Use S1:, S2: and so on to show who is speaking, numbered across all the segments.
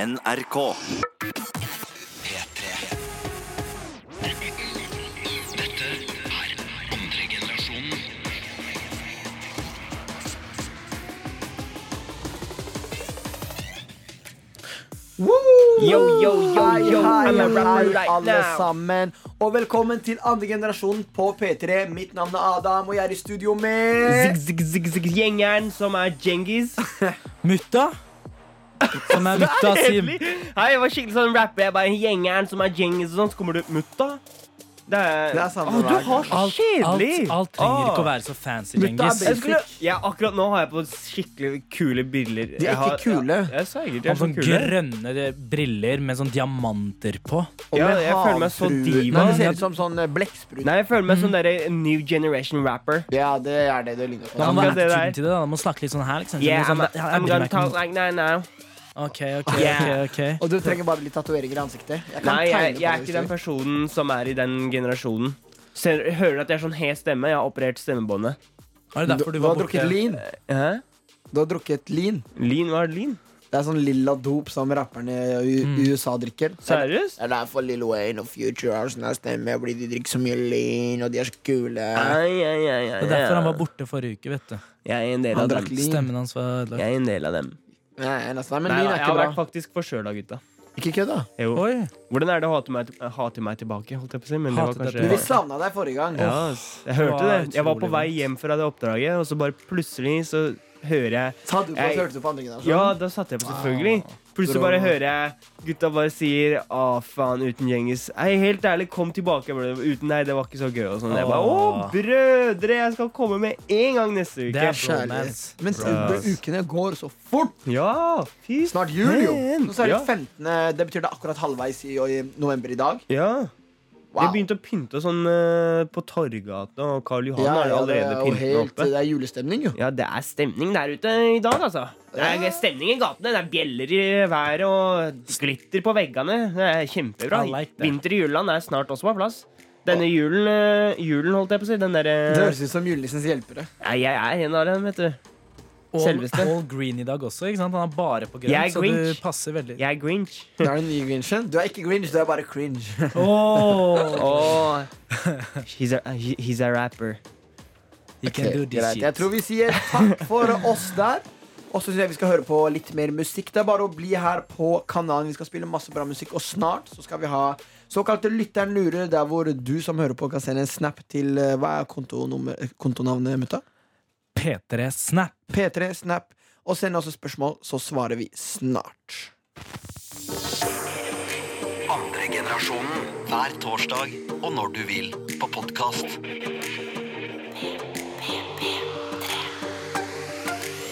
S1: NRK.
S2: Yo, yo, yo,
S3: Hei,
S2: yo,
S3: hei,
S2: I'm a rapper
S3: hei,
S2: right
S3: alle
S2: now.
S3: sammen. Og velkommen til andre generasjon på P3. Mitt navn er Adam, og jeg er i studio med
S2: Zig-zig-zig-gjengeren som er Djengis.
S4: Mutta? Som er mutta Sim.
S2: Hei, jeg var skikkelig sånn rapper. Jeg bare Gjengeren som er Djengis, og sånn. Så kommer du Mutta. Det er,
S3: Det er samme
S2: Å,
S3: hver
S2: Du har så
S4: Alt, alt,
S2: kjedelig.
S4: alt trenger ikke
S2: Å.
S4: å være så fancy,
S3: Mutta er
S4: Djengis.
S2: jeg skulle, ja, akkurat nå har jeg på skikkelig kule briller.
S3: De er
S2: Jeg har-
S3: ikke kule.
S2: Ja, jeg sverger, de er så
S4: Og sånn
S2: kule.
S4: grønne eh, briller med sånn diamanter på.
S3: Og
S2: Ja,
S3: med
S2: jeg føler meg så
S3: havfrue.
S2: diva.
S3: Nei, det ser ut som sånn eh, blekksprut.
S2: Nei, jeg føler meg som derre new generation rapper.
S3: Ja, det er det det ligner på.
S4: Da må
S2: Akkurat det
S4: være
S2: der.
S4: attituden til det, da. Da må snakke litt sånn her, liksom.
S2: Yeah,
S4: sånn,
S2: I'm,
S4: ja,
S2: I'm
S4: jeg bryr
S2: gonna
S4: meg ikke
S2: talk
S4: om-
S2: like that now.
S4: OK, OK, OK.
S2: Yeah.
S4: ok.
S3: Og du trenger bare litt tatoveringer i ansiktet. Jeg kan
S2: Nei,
S3: tegne
S2: jeg,
S3: på det
S2: jeg er
S3: hvis
S2: ikke
S3: du
S2: den
S3: vil.
S2: personen som er i den generasjonen. Ser, hører at jeg er sånn hes stemme. Jeg har operert stemmebåndet.
S4: Var det derfor du
S3: Du
S4: var
S3: har drukket
S4: borte?
S3: lean.
S2: Hæ?
S3: Du har drukket lean.
S2: Lean, hva er lean?
S3: Det er sånn lilla dop som rapperne i
S2: Mm.
S3: U- USA drikker.
S2: Seriøst?
S3: Det er derfor Lill Wayne og Future har sånn her stemme, fordi de drikker så mye lean, og de er så kule.
S2: Ai, ai, ai, ai,
S4: Det er derfor han var borte forrige uke, vet du.
S2: Jeg er en del
S3: Han
S2: av
S3: drakk
S2: dem.
S3: lean.
S4: Stemmen hans var ødelagt.
S2: Jeg er en del av dem.
S3: Nei, nesten, men
S2: Nei,
S3: lean
S2: da,
S3: er
S2: jeg har
S3: ikke
S2: vært
S3: bra.
S2: faktisk forkjøla, gutta.
S3: Ikke kødd, da.
S2: Jo.
S4: Oi.
S2: Hvordan er det å hate meg, hate meg tilbake? Holdt jeg på å si, men det var
S4: Hatet deg
S2: kanskje
S3: Men vi
S4: tilbake.
S3: savna deg forrige gang.
S2: Ja, ass. Jeg hørte det.
S4: var
S2: Jeg var på
S4: utrolig
S2: vei
S4: vondt.
S2: hjem fra det oppdraget, og så bare plutselig så hører jeg
S3: Sa du på
S2: Jeg-
S3: oss, hørte du på andre generasjon?
S2: Ja,
S4: Sånn?
S2: da satte jeg på selvfølgelig. Plutselig bare hører jeg gutta bare sier 'Å, faen, uten Djengis'. Ei, helt ærlig, kom tilbake. Jeg ble, uten nei, det var ikke så gøy. Og sånn. Jeg bare 'Å,
S4: Åh.
S2: brødre, jeg skal komme med en gang neste
S4: Det er
S2: uke'.
S4: bromance.
S3: Kjærlighet. Men
S2: Bra.
S3: u- ukene går så fort.
S2: Ja, fy
S3: Snart jul, jo.
S2: faen.
S3: Nå så er det
S2: Ja.
S3: 15. Det betyr det er akkurat halvveis i, i november i dag.
S2: Ja.
S3: Wow.
S2: De begynte å pynte sånn eh, på Torggata, og Karl Johan har jo
S3: det,
S2: allerede
S3: er jo
S2: pyntet
S3: helt,
S2: oppe.
S3: det er julestemning, jo.
S2: Ja, det er stemning der ute i dag, altså. Det er stemning i gatene. Det er bjeller i været og glitter på veggene. Det er kjempebra.
S4: I like that.
S2: Vinter i juleland er snart også på plass. Denne julen, eh, julen holdt jeg på å si. Den
S3: Det
S2: derre
S3: høres ut som julenissens hjelpere.
S2: Nei, Jeg er en av dem, vet du.
S4: All,
S2: Selveste.
S4: all green i dag også, ikke sant? Han er bare på
S2: Jeg er
S4: grønt, så du
S2: Grinch.
S4: passer veldig.
S2: Jeg er grinch.
S3: Det er den nye grinchen. Du er ikke grinch, du er bare cringe.
S4: Åh,
S2: Oh, he's, a, he- he's a rapper.
S4: you can do this
S3: Greit.
S4: shit.
S3: Jeg tror vi sier takk for oss der. Og så synes jeg vi skal høre på litt mer musikk. Det er bare å bli her på kanalen. Vi skal spille masse bra musikk, og snart så skal vi ha såkalte lytteren lurer, der hvor du som hører på, kan sende en snap til eh, Hva er kontonummer- kontonavnet, mutta?
S4: P3 Snap.
S3: P3 Snap. Og send oss et spørsmål, så svarer vi snart.
S1: Andre generasjonen hver torsdag og når du vil på podkast.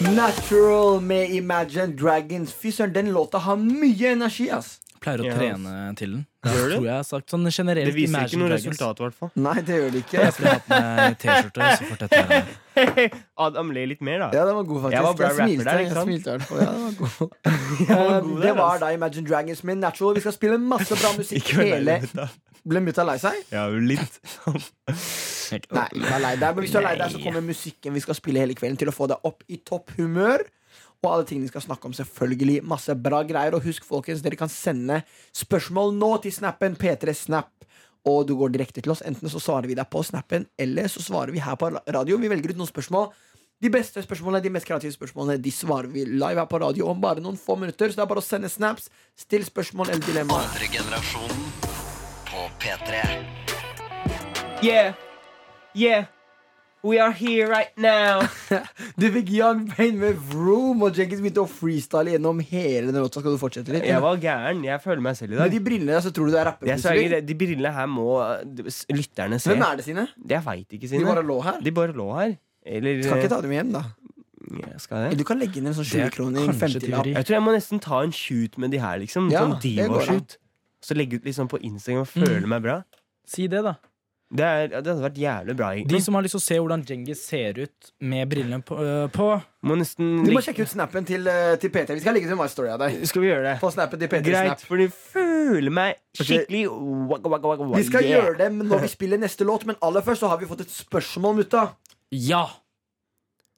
S3: Natural med Imagine Dragons. Fy søren, den låta har mye energi, ass.
S4: Pleier å
S2: Ja.
S4: trene til den. Det
S2: Gjør du?
S4: tror jeg har sagt sånn generelt.
S2: Det viser ikke
S4: Imagine
S2: noe
S4: Dragons.
S2: resultat, i hvert fall.
S3: Nei, det gjør det ikke.
S4: Jeg skulle hatt meg T-skjorte, så fort dette her.
S2: Adam ler litt mer, da.
S3: Ja, den var god, faktisk.
S2: Jeg var bra rapper
S3: smilte,
S2: der, ikke
S3: jeg
S2: sant?
S3: smilte i hvert fall. Ja, den var god.
S2: Jeg var
S3: Um,
S2: god
S3: det
S2: der,
S3: var
S2: ass.
S3: da Imagine Dragons med Natural. Vi skal spille masse bra musikk
S2: Ikke vær lei
S3: hele
S2: deg, da.
S3: Ble mutta lei seg?
S2: Ja, jo, litt. sånn.
S3: Nei, hun er lei deg. Men hvis du er lei deg, så
S2: Nei.
S3: kommer musikken vi skal spille hele kvelden, til å få deg opp i topphumør. Og alle tingene vi skal snakke om, selvfølgelig. Masse bra greier. Og husk, folkens, dere kan sende spørsmål nå til snappen P3 Snap. Og du går direkte til oss. Enten så svarer vi deg på snappen, eller så svarer vi her på radio. Vi velger ut noen spørsmål. De beste spørsmålene, de mest kreative spørsmålene, de svarer vi live her på radio om bare noen få minutter. Så det er bare å sende snaps. Still spørsmål eller dilemmaer.
S1: Andre generasjonen på P3.
S2: Yeah. Yeah. We are here right now.
S3: Du fikk Young Pain med Vroom, og Jenkins begynte å freestyle gjennom hele den låta. Skal du fortsette litt?
S2: Jeg var gæren. Jeg føler meg selv i
S3: Med
S2: dag.
S3: de brillene så tror du du er rapper.
S2: Jeg
S3: plutselig.
S2: sverger, de brillene her må eh, s- lytterne se.
S3: Hvem er det sine?
S2: Jeg veit ikke,
S3: De
S2: Sine.
S3: bare lå her.
S2: De bare lå her. Eller
S3: Skal ikke ta dem hjem, da.
S2: eh, ja, skal jeg?
S3: Du kan legge inn en sånn
S4: Det er
S3: 20 kroner. en
S4: kanskje
S3: 50-lapp.
S4: teori.
S2: jeg tror jeg må nesten ta en shoot med de her, liksom.
S3: Ja,
S2: sånn
S3: det går an. Mm.
S2: diva-shoot. Så legge ut liksom på Instagram og føle meg bra.
S4: Si det, da.
S2: Det, er, det hadde vært jævlig bra,
S4: De
S2: egentlig.
S4: som har lyst til å se hvordan Djengis ser ut med brillene på, øh, på
S2: Må nesten
S3: Du må
S2: lik-
S3: sjekke ut snappen til, eh, til PT. Vi skal legge ut en My Story av deg.
S2: Skal vi gjøre det?
S3: På snappen til PT
S2: Greit,
S3: Snap.
S2: for de føler meg
S3: Ok.
S2: skikkelig waka, waka, waka, waka,
S3: Vi skal
S2: yeah.
S3: gjøre det når vi spiller neste låt, men aller først så har vi fått et spørsmål, mutta.
S4: Ja!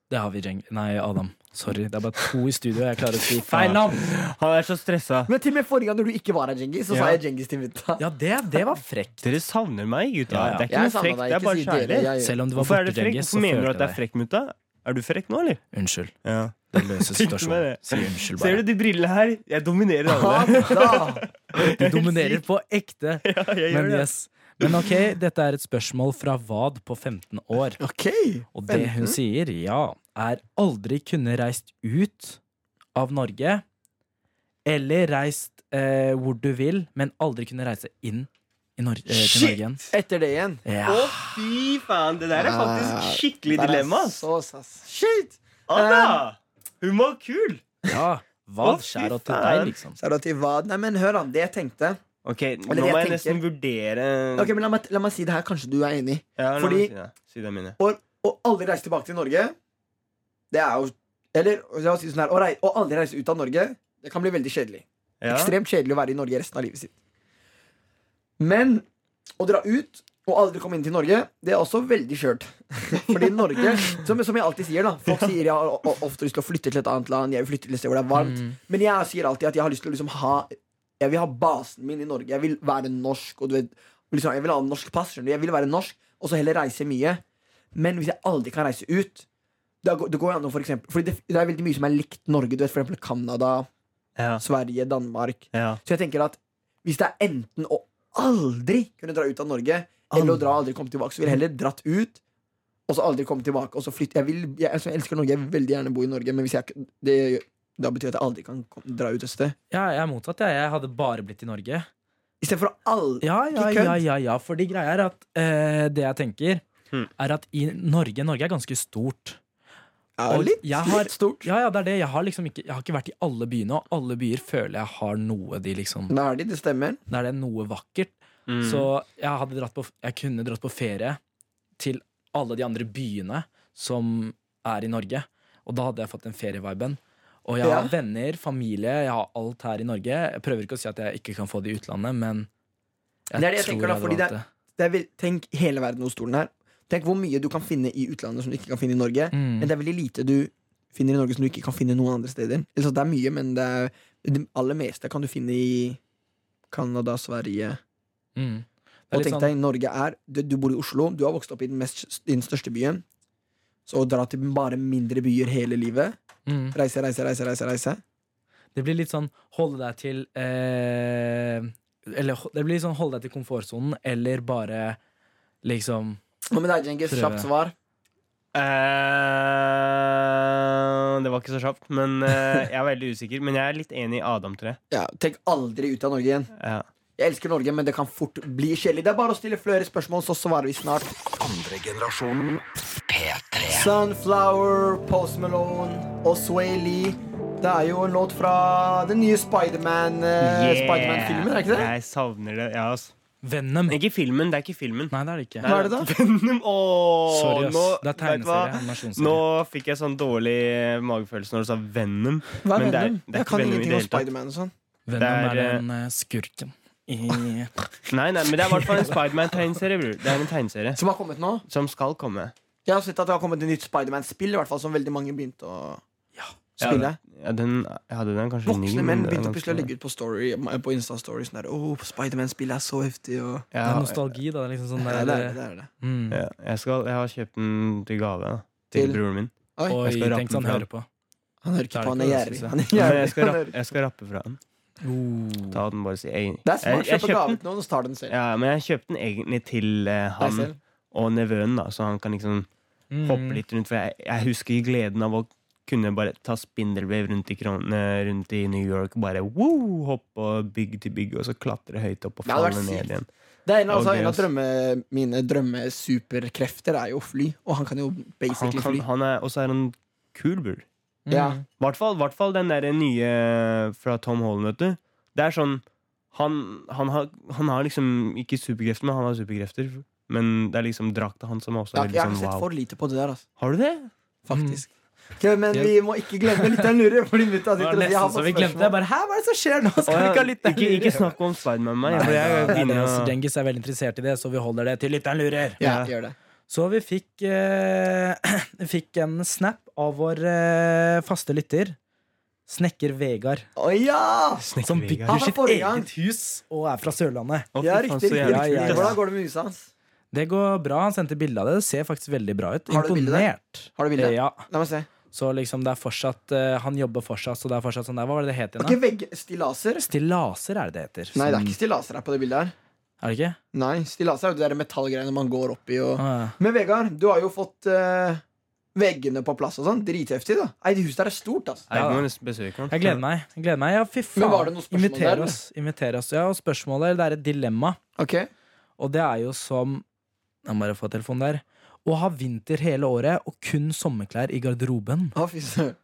S4: Det har vi, Jeng. Nei, Adam. Sorry. Det er bare to i studio. Jeg klarer å si feil navn.
S2: Han er så stressa.
S3: Men til og med forrige gang når du ikke var her, Djengis, så
S2: Ja.
S3: sa jeg Djengis til Mutta.
S4: Ja, det, det var frekt.
S2: Dere savner meg, gutta.
S4: Ja, ja.
S2: Det er ikke
S3: Jeg
S2: noe
S3: savner deg,
S2: frekt, det
S3: ikke
S2: er bare
S3: si dere,
S2: kjærlighet.
S3: jeg-
S4: Selv om du var
S2: Hvorfor er
S4: borte,
S2: det frekk?
S4: Djengis, så
S2: Hvorfor mener du
S4: følte
S2: at det er
S4: jeg deg.
S2: frekk, mutta? Er du frekk nå, eller?
S4: Unnskyld.
S2: Ja.
S4: Det
S2: Slutt
S4: løser
S2: med
S4: situasjonen.
S2: det.
S4: Si unnskyld,
S2: Ser du
S4: bare.
S2: de brillene her? Jeg dominerer
S3: Ja,
S2: alle.
S3: da.
S4: Du dominerer på ekte.
S2: Ja, jeg gjør
S4: Men
S2: det.
S4: yes. Men ok, dette er et spørsmål fra Vad på 15 år.
S3: Ok.
S4: Og det hun sier, ja, er aldri kunne reist ut av Norge. Eller reist eh, hvor du vil, men aldri kunne reise inn i Nor eh, til Norge igjen.
S3: Etter det igjen.
S4: Ja.
S2: Å, fy faen! Det der er
S3: Ja,
S2: faktisk skikkelig
S3: der Ah, er
S2: dilemma. ass.
S3: Så sass. Shit!
S2: Anna! Hun var kul!
S4: ja. Hva
S2: Å, fy
S4: skjer til
S2: faen.
S4: deg, liksom?
S3: Så er det til hva? Nei, men hør, da. Det jeg tenkte
S2: Ok, nå
S3: Eller jeg
S2: må jeg
S3: tenker-
S2: nesten vurdere
S3: Ok, men la meg, la meg si det her. Kanskje du er enig.
S2: ja, la meg
S3: fordi-
S2: si det. Si det mine.
S3: Å å aldri reise tilbake til Norge, det er jo Eller la oss si det sånn her, å, rei, å aldri reise ut av Norge, det kan bli veldig kjedelig.
S2: Ja.
S3: Ekstremt kjedelig å være i Norge resten av livet sitt. Men å dra ut og aldri komme inn til Norge, det er også veldig skjørt. Fordi Norge, som, som jeg alltid sier, da folk sier jeg har o- o- ofte lyst til å flytte til et annet land, jeg vil flytte til et sted hvor det er varmt. Men jeg sier alltid at jeg har lyst til å liksom ha Jeg vil ha basen min i Norge. Jeg vil være norsk. Og du vet, liksom, jeg vil ha norsk pass. skjønner du Jeg vil være norsk, og så heller reise mye. Men hvis jeg aldri kan reise ut da går, det går jo an å for eksempel, Fordi det, det er veldig mye som er likt Norge. Du vet for eksempel Canada,
S2: Ja.
S3: Sverige, Danmark.
S2: Ja.
S3: Så jeg tenker at hvis det er enten å aldri kunne dra ut av Norge, eller å dra og aldri komme tilbake, så vil jeg heller dratt ut. Og så aldri komme tilbake. Og så flytte. Jeg, vil, jeg, altså, jeg elsker Norge, jeg vil veldig gjerne bo i Norge, men hvis jeg, ikke- det, da betyr det at jeg aldri kan kom- dra ut et sted.
S4: Ja, jeg er motsatt. Jeg, jeg hadde bare blitt i Norge.
S3: Istedenfor å aldri
S4: Ja, ja,
S3: Ikke kødd.
S4: ja, ja, ja fordi greia er at eh, det jeg tenker,
S2: Hmm.
S4: er at i Norge Norge er ganske stort.
S3: ja,
S4: Og
S3: litt,
S4: jeg har-
S3: litt stort.
S4: Ja, ja, det er det. Jeg har liksom ikke, jeg har ikke vært i alle byene, og alle byer føler jeg har noe de liksom
S3: Da er de, det stemmer.
S4: Der det er noe vakkert.
S2: Mm.
S4: Så jeg, hadde dratt på, jeg kunne dratt på ferie til alle de andre byene som er i Norge. Og da hadde jeg fått den ferieviben. Og jeg har
S3: Ja.
S4: venner, familie, jeg har alt her i Norge. Jeg prøver ikke å si at jeg ikke kan få det i utlandet, men jeg
S3: Det er det jeg
S4: tror
S3: tenker da,
S4: hadde
S3: fordi
S4: valgt
S3: det det er vel- tenk hele verden og stolen her. Tenk hvor mye du kan finne i utlandet som du ikke kan finne i Norge.
S4: Mm.
S3: Men det er veldig lite du finner i Norge som du ikke kan finne noen andre steder. Eller så det er mye, men det, er, det aller meste kan du finne i Canada, Sverige
S4: Mm.
S3: Og
S4: Det er litt
S3: tenk
S4: sånn,
S3: deg, Norge er Du, du bor i Oslo, du har vokst opp i den, mest, i den største byen. Så å dra til bare mindre byer hele livet
S4: mm.
S3: Reise, reise, reise, reise. reise
S4: Det blir litt sånn holde deg til eh, Eller ho- det blir sånn holde deg til komfortsonen, eller bare liksom
S3: Hva med deg, Djengis?
S4: Prøve.
S3: Kjapt svar.
S2: Eh, det var ikke så kjapt, men eh, jeg er veldig usikker. Men jeg er litt enig i Adam, tror jeg.
S3: Ja, tenk aldri ut av Norge igjen.
S2: Ja.
S3: Jeg elsker Norge, men det kan fort bli kjedelig. Det er bare å stille flere spørsmål, så svarer vi snart.
S1: Andre generasjonen P3.
S3: Sunflower, Post Malone og Sway Lee. Det er jo en låt fra den nye Spiderman-filmen,
S2: Yeah.
S3: Spiderman er ikke det?
S2: Jeg savner det. Ja, altså.
S4: Venom.
S2: Ikke filmen. Det er ikke filmen.
S4: Nei, det er det ikke.
S3: Hva er det da?
S2: Venom. Åh,
S4: Sorry, ass.
S2: nå- vet
S4: det er
S2: du hva?
S4: tegneserie. animasjonsserie.
S2: Nå fikk jeg sånn dårlig eh, magefølelse når du sa Venom.
S3: Hva er
S2: Men det er-
S3: Venom?
S2: det er
S3: Jeg kan
S2: ikke Venom i
S3: ingenting
S2: det
S3: om
S2: hele tatt.
S3: Spiderman og sånn.
S4: Venom
S2: Det
S4: er
S2: er, eh,
S4: den eh, skurken i
S2: Nei, nei, men det er i hvert fall en Spiderman-tegneserie. bror. Det er en tegneserie
S3: Som har kommet nå?
S2: som skal komme.
S3: Jeg har sett at det har kommet et nytt Spiderman-spill, i hvert fall som veldig mange begynte å
S4: Ja.
S3: spille.
S2: Ja, den, jeg hadde den kanskje ny,
S3: Voksne
S2: men
S3: menn
S2: den er
S3: begynte
S2: ganske-
S3: plutselig å legge ut på, story, på Insta-stories sånn der Å, Spiderman-spillet er så heftig, og
S4: Det er
S2: ja,
S4: nostalgi, da. Det er liksom sånn
S3: Ja,
S4: der,
S3: det er det. det, er det.
S4: Mm.
S2: ja, jeg, skal, jeg har kjøpt den til gave da, til
S3: Til?
S2: broren min.
S3: Oi,
S4: Oi,
S2: Jeg skal rappe
S4: tenk så han
S2: den
S4: hører på.
S3: han hører
S4: det
S3: ikke
S4: er
S3: på, han er
S4: ikke det,
S3: gjerrig.
S4: synes jeg.
S3: Han er
S2: Ja, men
S3: gjerrig.
S2: altså. jeg, skal
S3: Han
S2: rappe,
S3: hører-
S2: jeg skal rappe fra den.
S4: Oh.
S2: Ta den bare og si jeg,
S3: Det er smart.
S2: jeg, jeg
S3: Kjøp en
S2: kjøpte
S3: gave
S2: den,
S3: til noen, og så tar du den selv.
S2: ja, Men jeg kjøpte den egentlig til eh,
S3: Deg
S2: han
S3: selv. Mm.
S2: og nevøen, da, så han kan liksom
S4: Mm,
S2: hoppe litt rundt. For jeg, jeg husker gleden av å kunne bare ta spindelvev rundt i, kron, eh, rundt i New York. Bare woo, hoppe og bygg til bygg, og så klatre høyt opp og
S3: Det hadde vært
S2: falle ned
S3: sykt.
S2: igjen.
S3: Det er en, altså,
S2: Ok,
S3: en av
S2: ass.
S3: drømme, mine drømmesuperkrefter er jo å fly, og han kan jo
S2: Han
S3: basically
S2: kan,
S3: fly.
S2: han er, og så er han kul, bror.
S4: Mm.
S3: Ja.
S2: I hvert fall- hvert fall den derre nye fra Tom Holland, vet du. Det er sånn han, han, har, han har liksom ikke superkrefter, men han har superkrefter. Men det er liksom drakta hans som er også
S3: Jeg,
S2: er
S3: jeg har
S2: liksom,
S3: sett
S2: wow. Mm.
S3: for lite på det der, altså.
S2: Har du det?
S4: Mm.
S3: faktisk. Ok, men vi må ikke glemme litt av lurer, fordi mutta
S4: Det
S3: sitter
S4: var
S3: og sier jeg har
S4: nesten så
S3: fått
S4: vi glemte det.
S3: spørsmål.
S4: Bare, Hæ, hva er det som skjer nå? Skal
S2: Å,
S4: vi
S2: ja,
S4: ikke ha lytteren
S2: ikke, ikke
S4: lurer?
S2: snakk om Spiderman med meg. for
S4: Nei,
S2: jeg
S4: det er
S2: begynner
S4: det,
S2: å-
S4: så Dengis er veldig interessert i det, så vi holder det til lytteren lurer.
S3: Ja,
S2: Ja.
S3: gjør det.
S4: Så vi fikk, eh, fikk en snap av vår eh, faste lytter, snekker Vegard,
S3: Å ja!
S4: som
S2: Snekker-Vegard.
S3: Han
S4: bygger
S3: var
S4: sitt
S3: forrige gang.
S4: eget hus og er fra Sørlandet.
S2: Å, fy
S3: Ja,
S2: faen,
S3: riktig.
S2: så
S3: riktig,
S2: jævlig
S4: Ja,
S3: riktig.
S2: kult, ass.
S4: ja, ja.
S3: Hvordan går det med huset hans?
S4: Det går bra. Han sendte bilde av det. Det ser faktisk veldig bra ut.
S3: Har du bilde der?
S4: Imponert.
S3: Har du bilde?
S4: Eh, Ja.
S3: La meg se.
S4: Så liksom det er fortsatt eh, Han jobber fortsatt, så det er fortsatt sånn der. Hva var det det het igjen?
S3: Ok,
S4: da?
S3: vegg, Stillaser?
S4: Stillaser er det det heter.
S3: Nei, det er
S4: Som-
S2: Mm.
S3: ikke stillaser her på det bildet her.
S4: Er det ikke?
S3: Nei, Stillaser er jo de der metallgreiene man går opp i. Og...
S4: Ah, ja.
S3: Men Vegard, du har jo fått eh, veggene på plass og sånn. Dritheftig, da. Nei, det huset der er stort, altså.
S2: Jeg må nesten besøke han.
S4: Jeg gleder meg. Jeg gleder meg. Ja, fy faen.
S3: Men var det noe spørsmål
S4: Inviter
S3: der, eller?
S4: Oss. Inviter oss. Ja, og spørsmålet Det er et dilemma.
S3: Ok
S4: Og det er jo som Jeg må bare få telefonen der. Å ha vinter hele året og kun sommerklær i garderoben.
S3: Å, fy søren.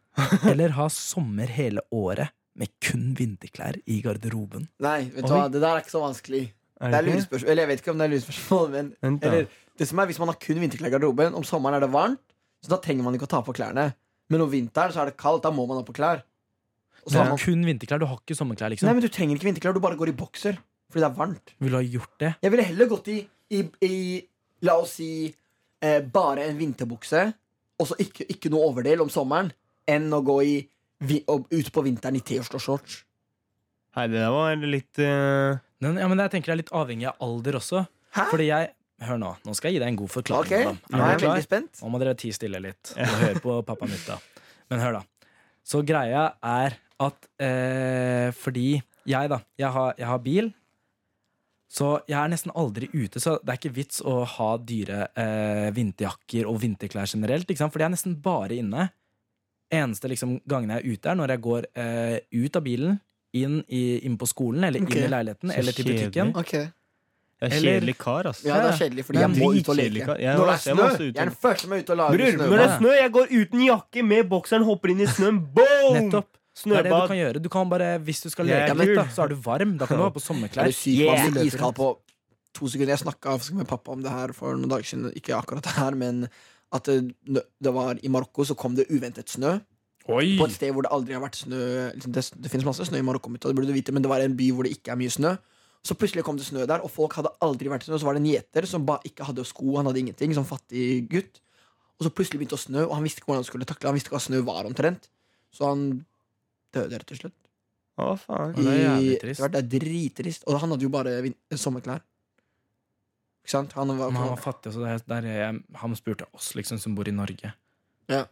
S4: Eller ha sommer hele året med kun vinterklær i garderoben.
S3: Nei, vet du
S2: Oi.
S3: hva, det der er ikke så vanskelig. Det er
S2: ikke?
S3: lurespørsmål, eller jeg vet ikke om det er lurespørsmål, men
S2: Vent, da.
S3: eller, det som er, Hvis man har kun vinterklær i garderoben, om sommeren er det varmt, så da trenger man ikke å ta på klærne. Men om vinteren så er det kaldt, da må man ha på klær. Og så
S4: Du
S3: har
S4: har
S3: man,
S4: kun vinterklær. Du har ikke sommerklær, liksom.
S3: nei, men Du trenger ikke vinterklær, du bare går i bokser fordi det er varmt.
S4: Vil du ha gjort det?
S3: Jeg ville heller gått i, i, i la oss si, eh, bare en vinterbukse, og så ikke, ikke noe overdel om sommeren, enn å gå i, vi, og, ut på vinteren i T-skjorte og shorts.
S2: Hei, det der var litt eh,
S4: Men, ja, men jeg tenker det er litt avhengig av alder også.
S3: Hæ?
S4: Fordi jeg Hør nå. Nå skal jeg gi deg en god
S3: Ok,
S4: forklaring. Adam.
S3: Nå er jeg
S4: Er du klar?
S3: veldig spent.
S4: Nå må dere tie stille litt og høre på pappa mitt, da. Men hør, da. Så greia er at eh, fordi jeg, da, jeg har, jeg har bil, så jeg er nesten aldri ute. Så det er ikke vits å ha dyre eh, vinterjakker og vinterklær generelt, ikke sant? fordi jeg er nesten bare inne. Eneste liksom, gangen jeg er ute, er når jeg går eh, ut av bilen, inn, i, inn på skolen, eller
S3: Ok.
S4: inn i leiligheten,
S2: Så
S4: eller til
S2: kjedelig.
S4: butikken.
S3: Ok
S2: Jeg er
S4: Eller-
S2: kjedelig kar, ass.
S3: Ja, det er kjedelig, fordi
S2: Det er
S3: jeg må ut og
S2: dritkjedelig,
S3: leke.
S2: kar. Jeg
S3: når det
S2: også- jeg må
S3: er
S2: også
S3: snø,
S2: ut og-
S3: jeg er den første med ut og lager
S2: Bror,
S3: snø.
S2: når det er snø, jeg går uten jakke med bokseren, hopper inn i snøen, boom!
S4: Nettopp. Det er det du
S2: Snøbad.
S4: kan gjøre. Du kan bare, hvis du skal
S2: Jeg
S4: leke
S2: er
S4: litt,
S2: kul.
S4: da, så er du varm. Da kan du ha på
S3: Er
S4: sommerklær.
S3: du syk yeah.
S2: Yeah.
S3: masse iskald på to sekunder? Jeg snakka med pappa om det her for noen dager siden. Ikke akkurat det her, men at det, det var i Marokko, så kom det uventet snø.
S4: Oi!
S3: På et sted hvor det aldri har vært snø. Liksom det, det finnes masse snø i Marokko, mitt, og det burde du vite, men det var en by hvor det ikke er mye snø. Så plutselig kom det snø der, og folk hadde aldri vært i snø. Så var det en gjeter som ba, ikke hadde sko, han hadde ingenting, som fattig gutt. Og så plutselig begynte det å snø, og han visste ikke hvordan han skulle takle Han visste ikke hva snø var omtrent. Så han døde rett og slett.
S2: Å, faen.
S4: Ja, det er jævlig
S3: i-
S4: trist.
S3: Det er drittrist. Og han hadde jo bare vin- sommerklær. Ikke sant? Han var,
S4: Men han var fattig, så det er, der er jeg, han spurte oss liksom, som bor i Norge.
S3: Ja.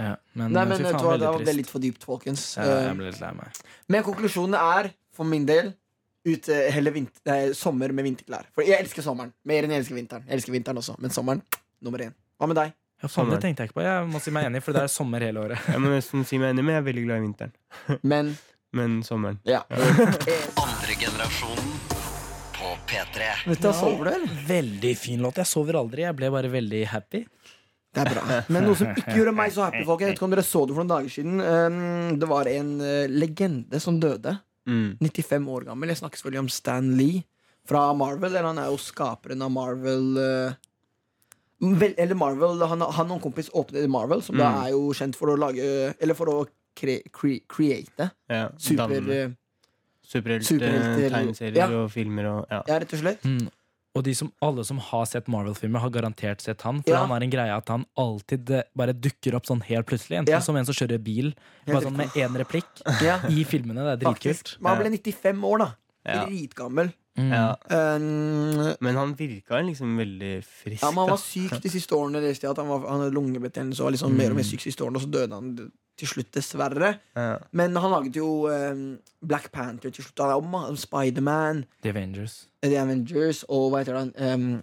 S4: Ja, men eh,
S3: Nei, men
S4: fy
S3: vet
S4: faen,
S3: du hva,
S4: veldig
S3: det ble
S4: trist.
S3: litt for dypt, folkens.
S4: Ja,
S3: Eh,
S4: jeg ble litt lei meg.
S3: Men konklusjonen er, for min del, ut, eh, heller vinter, nei, sommer med vinterklær. For jeg elsker sommeren mer enn jeg elsker vinteren. Jeg elsker vinteren også, men sommeren nummer én. Hva med deg?
S4: Ja, faen, det
S2: Sommeren.
S4: tenkte jeg ikke på. Jeg må si meg enig, for det er sommer hele året.
S2: Jeg må nesten si meg enig, men jeg er veldig glad i vinteren.
S3: Men
S2: Men sommeren.
S3: ja.
S1: Andre generasjonen på P3.
S3: Vet du, sover du, eller?
S4: Veldig fin låt. Jeg sover aldri. Jeg ble bare veldig happy.
S3: Det er bra. Men noe som ikke gjorde meg så happy, folkens, jeg vet ikke om dere så det for noen dager siden, eh, det var en eh, legende som døde.
S2: Mm.
S3: 95 år gammel. Jeg snakker selvfølgelig om Stan Lee fra Marvel. Eller han er jo skaperen av Marvel eh, vel, Eller Marvel han, han og en kompis åpnet Marvel, som da
S2: Mm.
S3: er jo kjent for å lage Eller for å kre, kre, create
S2: Ja,
S3: super...
S2: danne-
S3: eh,
S2: Superhelter,
S3: superhelter-
S2: tegneserier
S3: ja.
S2: og filmer og ja.
S3: Ja, rett og slett.
S4: Mm. Og de som, alle som har sett Marvel-filmer, har garantert sett han. For
S3: Ja.
S4: han har en greie at han alltid eh, bare dukker opp sånn helt plutselig. Enten
S3: Ja.
S4: som en som kjører bil, bare sånn med én replikk
S3: Ja,
S4: i filmene. Det er dritkult.
S3: faktisk. Men han ble 95 år, da.
S2: Ja.
S3: Dritgammel.
S4: Mm.
S2: Ja.
S3: Um,
S2: Men han virka liksom veldig frisk.
S3: ja, men han
S2: da.
S3: var syk de siste årene. Det stedet, at han, var, han hadde lungebetennelse og var
S2: Mm.
S3: liksom mer og mer syk de siste årene, og så døde han til slutt, dessverre.
S2: Ja.
S3: Men han laget jo um, Black Panther til slutt. Han er jo ma- Spiderman,
S4: The Avengers.
S3: The Avengers og hva heter han um,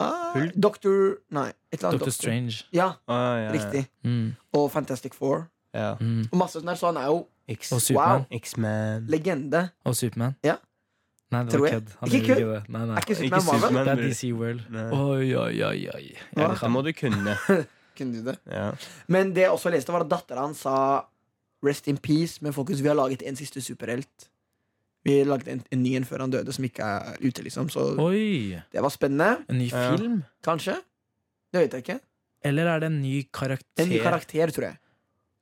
S3: ah,
S2: Hulk?
S3: Doctor Nei, et eller annet.
S4: Doctor
S3: doktor.
S4: Strange.
S3: Ja,
S2: Å, ja, ja.
S3: riktig.
S4: Mm.
S3: Og Fantastic Four.
S2: Ja.
S4: Mm.
S3: Og masse sånn der, så han er jo
S2: X-
S4: Og Superman.
S2: X-Man.
S3: legende.
S4: Og Superman?
S3: Ja.
S4: Nei, det
S3: Tror
S4: var
S3: jeg.
S4: kødd. Han
S3: Ikke
S4: gjorde
S3: kødd.
S4: det. Nei, nei.
S3: Er ikke
S2: Ikke
S3: Superman Marvel?
S4: Det
S2: Superman.
S4: er
S2: bror.
S4: DC World.
S2: Nei.
S4: Oi, oi, oi, oi.
S3: Ja.
S2: Dette må du kunne.
S3: Kunne du det?
S2: Ja.
S3: Men det jeg også leste, var at dattera hans sa Rest in peace, men folkens, vi har laget en siste superhelt. Vi laget en, en ny en før han døde, som ikke er ute, liksom. Så
S4: Oi!
S3: det var spennende.
S4: En ny
S2: Ja.
S4: film?
S3: Kanskje? Det vet jeg ikke.
S4: Eller er det en ny karakter?
S3: En ny karakter, tror jeg.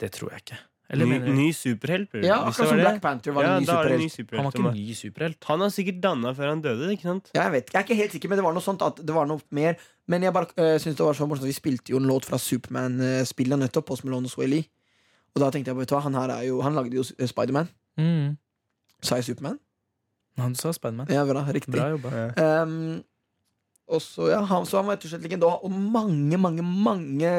S4: Det tror jeg ikke. Eller
S2: ny,
S4: mener du?
S2: ny superhelt. bro.
S3: Ja, akkurat
S2: Hvis det var
S3: som
S2: det.
S3: Black Panther var
S2: ja,
S3: en ny
S2: da er det en ny
S3: superhelt.
S2: superhelt.
S4: Han var
S2: som er-
S4: ikke ny superhelt.
S2: Han har sikkert danna før han døde, ikke sant?
S3: Jeg vet ikke, jeg er ikke helt sikker, men det var noe sånt at det var noe mer. Men jeg bare øh, synes det var så morsomt at vi spilte jo en låt fra Superman-spillet nettopp, Post Malone og Sway Lee. Og da tenkte jeg vet du hva, han her er jo Han lagde jo eh, Spiderman.
S4: Mm.
S3: Sa jeg Superman?
S4: Han sa Spiderman.
S3: Ja, bra. Riktig.
S4: Bra jobba.
S3: Ehm, og så, ja, han, så han var rett og slett legende. Og mange, mange mange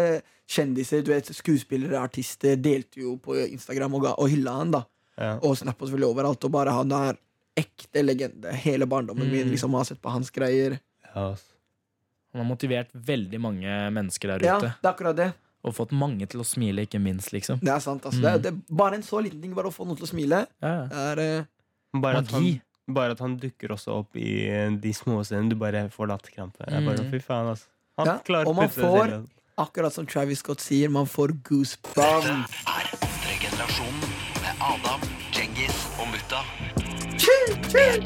S3: kjendiser, du vet, skuespillere, artister, delte jo på Instagram og, ga- og hylla han. da
S2: Ja.
S3: Og Snap og selvfølgelig overalt. Og bare han er ekte legende. Hele barndommen min
S4: Mm.
S3: liksom har sett på hans greier.
S2: Ja, ass.
S4: Han har motivert veldig mange mennesker der
S3: Ja,
S4: ute.
S3: det er akkurat det.
S4: Og fått mange til å smile, ikke minst, liksom.
S3: Det er sant. altså det, er- det, er Bare en så liten ting, bare å få noen til å smile,
S4: Ja. ja.
S3: er eh,
S2: Bare at, han,
S4: Magi.
S2: bare at han dukker også opp i eh, de små scenene. Du bare får latterkrampe. Jeg bare,
S4: Mm.
S2: Fy faen, ass. Han
S3: Ja,
S2: klarer
S3: og
S2: å
S3: man
S2: putte det
S3: får-
S2: selv.
S3: akkurat som Travis Scott sier, man får goosebumps.
S1: er Eldregenerasjonen med Adam, Djengis og Mutta.
S5: I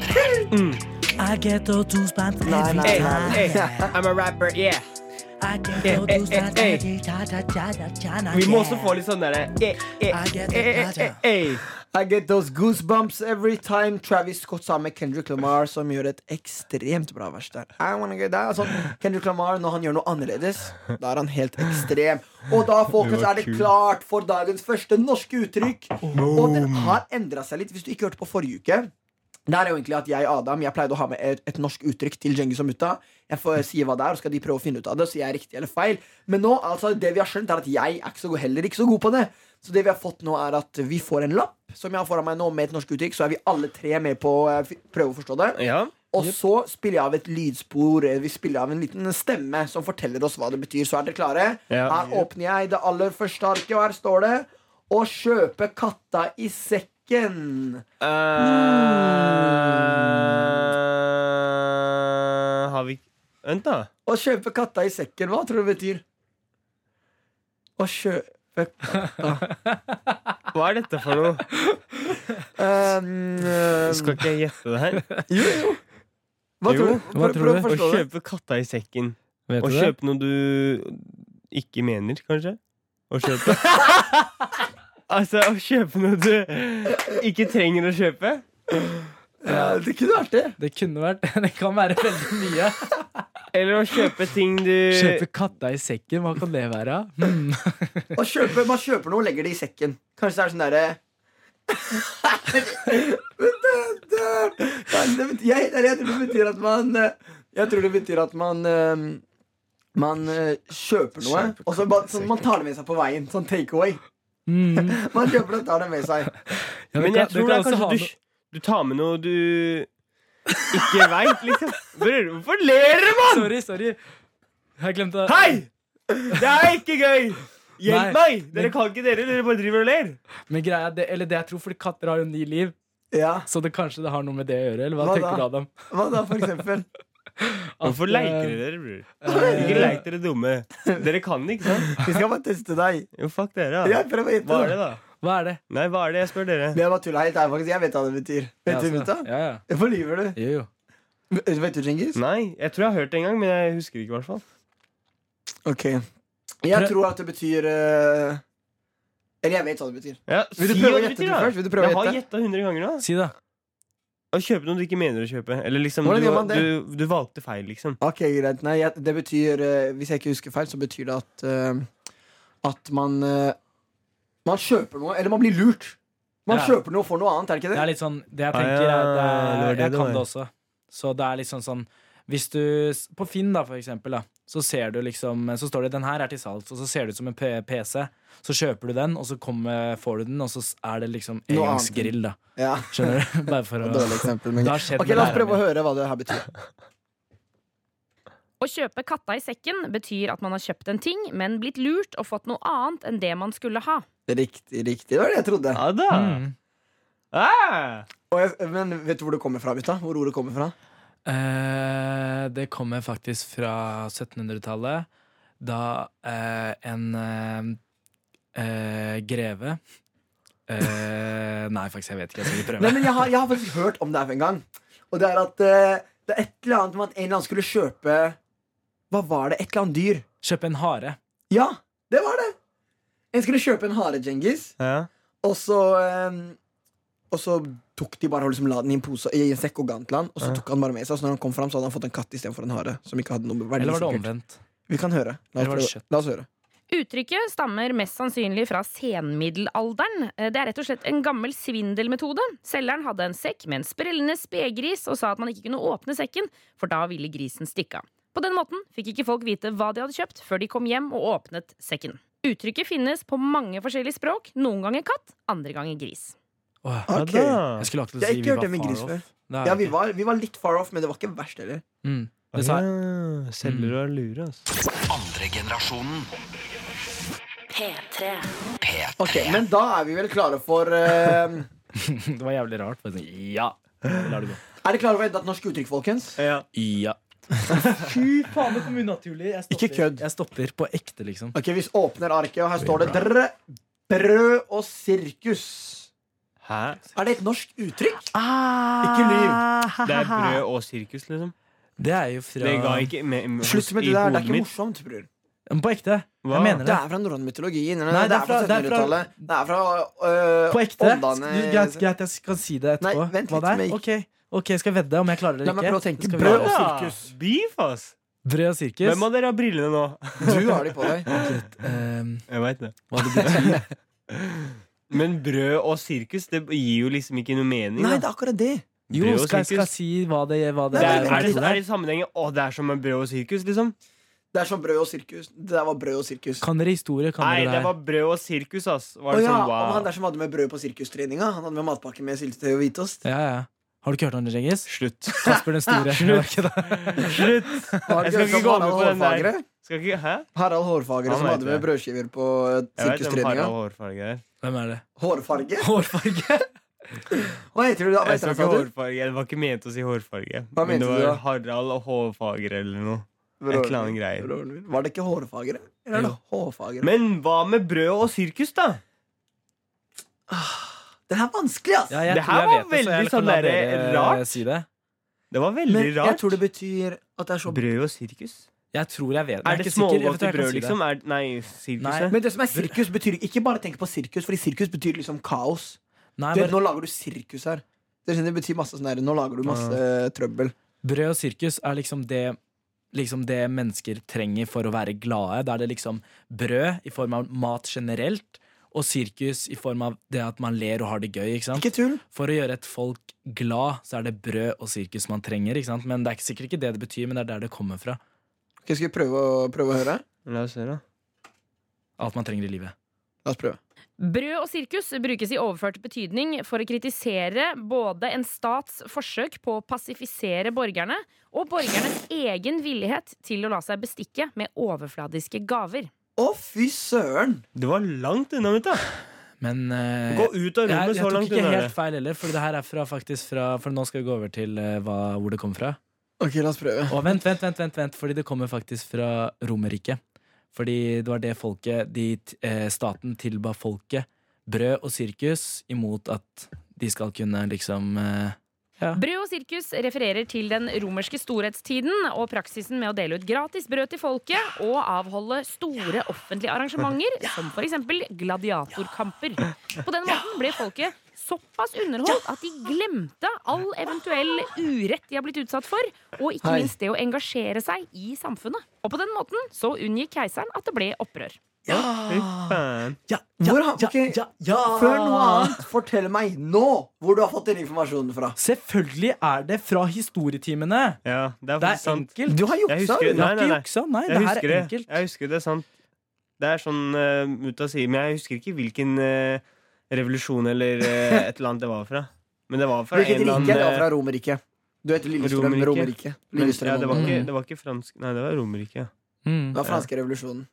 S5: get those goosebumps every
S3: nei,
S5: time.
S3: nei.
S2: I'm a rapper, yeah.
S5: I get
S2: Eh,
S5: those
S2: eh, eh,
S5: goosebumps
S2: eh.
S5: every time.
S2: Vi må også få litt sånn derre eh, eh,
S5: I get
S2: eh, eh,
S5: that, ja.
S2: eh, eh.
S3: I get those goosebumps every time Travis Scott sammen med Kendrick Lamar, som gjør et ekstremt bra vers der. I wanna get that. Altså, Kendrick Lamar, når han gjør noe annerledes, da er han helt ekstrem. Og da folkens,
S2: Det var
S3: er det
S2: kul.
S3: klart for dagens første norske uttrykk. Og den har endra seg litt, hvis du ikke hørte på forrige uke. Det er jo egentlig at jeg Adam, jeg pleide å ha med et, et norsk uttrykk til Djengis og Mutta. Jeg får si hva det er, og skal de prøve å finne ut av det, så jeg er riktig eller feil. Men nå, altså, det vi har skjønt, er at jeg er ikke så god, heller ikke så god på det. Så det vi har fått nå, er at vi får en lapp som jeg har foran meg nå, med et norsk uttrykk. Så er vi alle tre med på å eh, fi- prøve å forstå det.
S2: Ja.
S4: Mm.
S3: Og så spiller jeg av et lydspor. eh, Vi spiller av en liten stemme som forteller oss hva det betyr. Så er dere klare?
S2: Ja.
S3: Her åpner jeg det aller første arket, og her står det 'Å kjøpe katta i sekken'.
S2: Eh, har vi Vent, da.
S3: Å kjøpe katta i sekken, hva tror du det betyr? Å kjøpe
S2: Hva er dette for noe?
S3: Ehm, ehm,
S2: Skal ikke jeg gjette det her?
S3: Jo, jo. Hva
S2: Jo,
S3: tror du?
S4: hva
S3: Prøv-
S4: tror
S3: Prøv å
S4: du?
S2: Å
S3: forstå det.
S2: kjøpe katta i sekken.
S4: Vet
S2: Å
S4: du det?
S2: kjøpe noe du ikke mener, kanskje? Å kjøpe Altså, å kjøpe noe du ikke trenger å kjøpe?
S3: Ja, det kunne vært det.
S4: Det kunne vært Det kan være veldig mye.
S2: Eller å kjøpe ting du
S4: Kjøpe katta i sekken, hva kan det være? Hmm.
S3: Å kjøpe, man kjøper noe og legger det i sekken. Kanskje det er sånn derre Men det- det- Kanskje det betyr- jeg, jeg tror det betyr at man eh, Jeg tror det betyr at man ehm, man eh, kjøper noe,
S2: Kjøper
S3: og så
S2: katta i
S3: bare, sånn, man tar det med seg på veien. Sånn take away.
S4: Hmm.
S3: Man kjøper det og tar det med seg.
S4: Ja, det
S2: Men
S4: kan-
S2: jeg
S4: det
S2: tror det
S4: kan
S2: er
S4: også ha
S2: kanskje du,
S4: noe-
S2: du tar med noe du ikke veit, liksom. Bror, hvorfor ler dere, mann?!
S4: Sorry, sorry. Jeg glemte
S2: Hei! Det er ikke gøy!
S4: Nei,
S2: Hjelp meg! Dere
S4: men-
S2: kan ikke dere, dere bare driver og ler.
S4: Men greia, det, eller det jeg tror, fordi katter har jo ni liv,
S3: Ja,
S4: så det kanskje det har noe med det å gjøre. Eller hva,
S3: Hva
S4: tenker
S3: da?
S4: du, Adam?
S3: Hva da, for eksempel?
S4: At,
S2: Hvorfor
S4: eh,
S2: leker dere, bror? Ikke leik dere dumme. Dere kan det, ikke sant?
S3: Vi skal bare teste deg.
S2: Jo, fuck dere, da.
S3: Jeg prøver å gjette.
S2: Hva
S3: da.
S2: er det, da?
S4: Hva er det?
S2: Nei, hva er det jeg spør dere?
S3: Det var tulla helt ærlig, faktisk. Jeg vet hva det betyr. Vet
S4: Ja,
S3: du,
S4: altså.
S3: mutta?
S4: Ja, ja.
S3: Hvorfor lyver du?
S4: Jo, jo.
S3: Vet du, Djengis?
S2: Nei, jeg tror jeg har hørt det en gang, men jeg husker ikke i hvert fall.
S3: Ok. Jeg
S4: Prøv-
S3: tror at det betyr eh, Eller jeg vet hva det betyr.
S2: Ja,
S3: Vil du
S2: si
S3: prøve
S2: hva
S3: å
S2: det
S3: gjette
S2: betyr,
S3: det
S2: da.
S3: først? Vil du prøve å
S2: jeg har
S3: gjette?
S2: gjetta 100 ganger nå.
S4: Si det.
S2: Å kjøpe noe du ikke mener å kjøpe. Eller liksom,
S3: Hvordan
S2: du,
S3: gjør man det?
S2: du, du valgte feil, liksom.
S3: Ok, greit. Nei, jeg, det betyr eh, Hvis jeg ikke husker feil, så betyr det at eh, At man eh, Man kjøper noe, eller man blir lurt. Man
S4: Ja.
S3: kjøper noe og får noe annet, er det ikke
S4: Det
S3: det?
S4: er litt sånn Det jeg
S2: Ah,
S4: tenker,
S2: ja,
S4: er, det
S2: det var
S4: er
S2: det
S4: Jeg
S2: det
S4: kan det
S2: var.
S4: også. Så det er liksom sånn Hvis du s- På Finn, da, for eksempel, da, så ser du liksom Så står det 'Den her er til salgs', og så ser det ut som en P- PC. Så kjøper du den, og så kommer, får du den, og så s- er det liksom
S3: Noe annet.
S4: engangsgrill, da.
S3: Ja.
S4: Skjønner du? Bare for å
S3: Dårlig eksempel, men
S4: Det har skjedd
S3: Ok,
S4: med
S3: La oss
S4: læreren
S3: prøve å høre hva det her betyr.
S6: Å kjøpe katta i sekken betyr at man har kjøpt en ting, men blitt lurt og fått noe annet enn det man skulle ha.
S3: Riktig, riktig. Det var det jeg trodde.
S2: Ja da.
S4: Mm.
S2: Ah.
S3: Og jeg, men vet du hvor det kommer fra, gutta? Hvor ordet kommer fra?
S4: Eh, det kommer faktisk fra 1700-tallet, da eh, en eh, eh, greve eh, Nei, faktisk, jeg vet ikke. Jeg skal ikke prøve.
S3: Nei, men jeg har, jeg har faktisk hørt om det her for en gang. Og det er at eh, det er et eller annet med at en eller annen skulle kjøpe Hva var det? Et eller annet dyr.
S4: Kjøpe en hare.
S3: Ja, det var det! En skulle kjøpe en hare, Djengis.
S2: Ja.
S3: Og så eh, Og så tok de bare og liksom la den i en pose I en sekk og ga den til han Og så
S2: Ja.
S3: tok han bare med seg Så når han kom fram så hadde han fått en katt i stedet for en hare Som ikke hadde noe verdi
S4: Eller var det
S3: sikkert.
S4: omvendt?
S3: Vi kan høre La
S4: Eller var det
S3: oss, prøve.
S4: kjøtt?
S3: La oss høre
S6: Uttrykket stammer mest sannsynlig fra senmiddelalderen. Eh, Det er rett og slett en gammel svindelmetode. Selgeren hadde en sekk med en sprellende spegris og sa at man ikke kunne åpne sekken, for da ville grisen stikke av. På den måten fikk ikke folk vite hva de hadde kjøpt, før de kom hjem og åpnet sekken. Uttrykket finnes på mange forskjellige språk. Noen ganger katt, andre ganger gris.
S4: Åh,
S3: Ok.
S2: Ja da.
S4: Jeg skulle
S3: Jeg
S4: akkurat til å
S3: har
S4: si
S3: ikke
S4: vi
S3: hørt
S4: var
S3: det med gris
S4: far
S3: før.
S4: off. Det er
S3: Ja,
S4: jeg
S3: vi
S4: ikke.
S3: var, vi var litt far off Men det var ikke verst heller
S4: Mm.
S2: Ah,
S4: Det sa jeg.
S2: ja. Selger og lurer, altså.
S1: Andre generasjonen.
S5: P3.
S1: P3.
S3: Ok, men da er vi vel klare for eh,
S4: Det var jævlig rart. men Ja. La det gå.
S3: Er dere klare for et norsk uttrykk, folkens?
S4: Ja. Fy faen, det kom unaturlig. Jeg
S3: Ikke kødd.
S4: Jeg stopper på ekte, liksom.
S3: Ok, vi åpner arket Og her står det drr, Brød og sirkus
S2: Hæ?
S3: Er det et norsk uttrykk? Ah.
S4: Ikke lyv.
S2: Det er brød og sirkus, liksom?
S4: Det er jo fra
S2: Det ga ikke med, med,
S3: Slutt med
S2: i
S3: det der, det
S2: hodet
S3: er ikke
S2: mitt.
S3: morsomt, bror
S4: Men På ekte.
S2: Hva?
S4: Jeg mener
S3: Det
S4: det.
S3: er fra norrøn mytologi. Nei, nei,
S4: Nei,
S3: det er fra 1700-tallet. Det er fra øh,
S4: På ekte.
S3: åndene-
S4: Du, Greit, greit, jeg kan si det etterpå.
S3: Nei, vent
S4: Hva
S3: litt
S4: det er?
S3: med-
S4: Ok, Ok, jeg skal vedde om jeg klarer det
S3: La
S4: eller
S3: meg
S4: ikke.
S3: prøve å tenke.
S4: Skal vi
S3: Brød
S4: gjøre det?
S3: og
S2: Ja,
S3: sirkus.
S2: Beef, ass!
S4: Brød og sirkus.
S2: Hvem av dere har brillene nå?
S3: Du har de på deg.
S4: Ehm,
S2: Jeg veit det.
S4: hva det betyr.
S2: Men brød og sirkus, det gir jo liksom ikke noe mening.
S3: Nei,
S2: da.
S3: det er akkurat det.
S4: Jo,
S2: Brød og
S4: skal jeg skal jeg
S2: sirkus.
S4: si hva det, hva det
S2: Det
S3: Nei,
S2: er,
S4: er?
S3: men-
S2: er, det, er det sammenhengen Å, det er som med brød og sirkus, liksom?
S3: Det er som brød og sirkus. Det der var brød og sirkus.
S4: Kan dere historie? Kan
S2: Nei,
S4: dere
S2: det
S4: her?
S2: var brød og sirkus, ass.
S3: Å
S2: Var det
S3: ja,
S2: sånn,
S3: om han
S2: wow.
S3: der som hadde med brød på sirkustreninga. Han hadde med matpakke med syltetøy og hvitost.
S4: Ja, ja. Har du ikke hørt om det, Cengiz?
S2: Slutt.
S4: Kasper den store. Slutt.
S2: Slutt!
S3: Har du
S2: Jeg skal
S3: hørt
S2: ikke
S3: om
S2: gå
S3: Harald
S2: med på den
S3: Hårfagre?
S2: der. Skal ikke, hæ?
S3: Harald Hårfagre
S2: Han
S3: som
S2: vet
S3: hadde med
S2: det.
S3: brødskiver på øh,
S2: Jeg vet hvem
S3: sirkustreninga.
S2: Harald Hårfarge er.
S4: Hvem er det?
S3: Hårfarge?
S4: Hårfarge?
S3: Hva heter du da? Hva heter
S2: Jeg sa
S3: han,
S2: ikke
S3: sa du?
S2: hårfarge. Det var ikke ment å si hårfarge.
S3: Hva
S2: Men det
S3: mente du da?
S2: var Harald og Hårfagre eller noe. Et
S3: Broren
S2: eller annet
S3: min.
S2: greier.
S3: Broren min. Var det ikke Hårfagre? Eller er det Hårfagre?
S2: Men hva med brød og sirkus, da?
S3: Det er vanskelig, ass!
S4: Ja, jeg
S2: Det
S4: tror
S2: her
S4: jeg
S2: var
S4: vet det, så jeg
S2: veldig
S4: kan la
S2: sånn der,
S4: dere, eh,
S2: rart.
S4: Si det.
S2: Det var veldig
S3: Men jeg
S2: rart.
S3: tror det betyr at det er så
S2: Brød og sirkus?
S4: Jeg tror jeg vet Jeg
S2: Er det
S4: ikke sikker. Jeg
S2: smågodt
S4: vet
S2: i
S4: ikke om jeg
S2: brød,
S4: kan si det.
S2: liksom? Er, nei, sirkus
S4: Nei.
S2: ja.
S3: Men det som er sirkus betyr ikke bare tenk på sirkus, Fordi sirkus betyr liksom kaos.
S4: Nei,
S3: Du vet,
S4: bare,
S3: nå lager du sirkus her. Det, skjønner, det betyr masse sånn her, Nå lager du masse eh, trøbbel.
S4: brød og sirkus er liksom det Liksom det mennesker trenger for å være glade. Da er det liksom brød i form av mat generelt, og sirkus i form av det at man ler og har det gøy. Ikke sant?
S3: Ikke tull.
S4: For å gjøre et folk glad, så er det brød og sirkus man trenger. Ikke sant? Men det er ikke- sikkert ikke det det betyr, men det er der det kommer fra.
S3: Ok, skal vi prøve å, prøve å høre?
S2: La oss se, da.
S4: Alt man trenger i livet.
S3: La oss prøve.
S6: Brød og sirkus brukes i overført betydning for å kritisere både en stats forsøk på å pasifisere borgerne og borgernes egen villighet til å la seg bestikke med overfladiske gaver.
S3: Å, fy søren!
S2: Det var langt unna mitt, da.
S4: Men eh,
S2: Gå ut av
S4: jeg, jeg,
S2: rommet, så
S4: tok
S2: langt
S4: ikke
S2: unna er
S4: helt
S2: det.
S4: feil heller, for det her er fra, faktisk fra For nå skal vi gå over til eh, hva, hvor det kommer fra.
S3: Ok, la oss prøve.
S4: Og vent, vent, vent, vent, vent fordi det kommer faktisk fra Romerriket. Fordi det var det folket de, t- eh, Staten tilba folket brød og sirkus imot at de skal kunne liksom eh,
S6: Brød og sirkus refererer til den romerske storhetstiden og praksisen med å dele ut gratis brød til folket og avholde store offentlige arrangementer, som f.eks. gladiatorkamper. På den måten ble folket såpass underholdt at de glemte all eventuell urett de har blitt utsatt for, og ikke
S3: Hei.
S6: minst det å engasjere seg i samfunnet. Og på den måten så unngikk keiseren at det ble opprør.
S2: Fy faen.
S3: Hvor har- ok, Før noe annet, fortell meg nå hvor du har fått den informasjonen fra.
S4: Selvfølgelig er det fra historietimene!
S2: Ja, det er
S4: Det er
S2: faktisk sant.
S4: enkelt.
S3: Du har
S2: Jeg
S3: juksa!
S2: husker-
S3: du.
S4: Jeg
S2: Nei,
S4: har
S2: nei,
S4: ikke
S2: nei.
S4: juksa. Nei, det
S2: Jeg
S4: her
S2: husker
S4: er
S2: det.
S4: enkelt.
S2: Jeg husker det, det er sant. Det er sånn uh, ut av siden, men jeg husker ikke hvilken eh, revolusjon eller eh, et eller annet det var fra. Men det var fra
S3: Hvilket
S2: en eller
S3: rike?
S2: annen
S3: Det var
S2: eh,
S3: fra Romerriket. Du heter Lillestrøm.
S2: Romerriket.
S3: Romerriket.
S2: men, ja,
S3: Lillestrøm.
S2: det, var
S3: Romerriket.
S2: ikke,
S4: Mm.
S2: det var ikke fransk Nei, det var Romerike.
S4: Mm.
S3: Det var franske revolusjonen.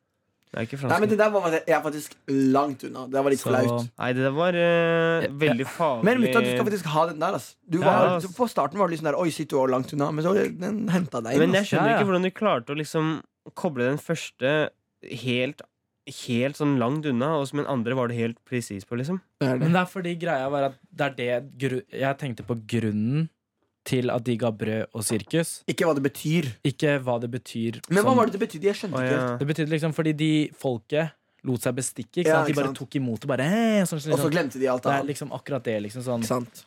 S2: Det er ikke
S3: Nei, men
S2: fransk.
S3: det der var jeg er faktisk langt unna. Det var litt
S4: Så-
S3: flaut.
S2: Nei, det der var eh, veldig farlig
S3: Men mutta, du skal faktisk ha den der. ass. Du
S2: Ja,
S3: var,
S2: ass.
S3: du- På starten var du litt sånn der Oi, sitter du også langt unna? Men så den henta deg inn.
S2: Men jeg
S3: ass.
S2: skjønner
S4: Ja, ja.
S2: ikke hvordan du klarte å liksom koble den første helt Helt sånn langt unna, og som den andre var det helt presis på, liksom.
S3: Det er det.
S4: Men det er fordi greia var at det er det gru Jeg tenkte på grunnen til at de ga brød og sirkus,
S3: Ikke hva det betyr.
S4: ikke hva det betyr.
S3: Men hva
S4: som-
S3: var det det betydde? Jeg skjønte
S2: Sånn. Å,
S3: ikke helt.
S2: ja.
S4: Det betydde liksom fordi de folket lot seg bestikke. Ikke
S3: Ja,
S4: sant?
S3: ikke
S4: De bare
S3: sant.
S4: tok imot det. bare eh, sånn, sånn,
S3: Og så
S4: sånn.
S3: glemte de alt
S4: Det er
S3: annet.
S4: liksom akkurat det. liksom sånn
S3: Ikke sant?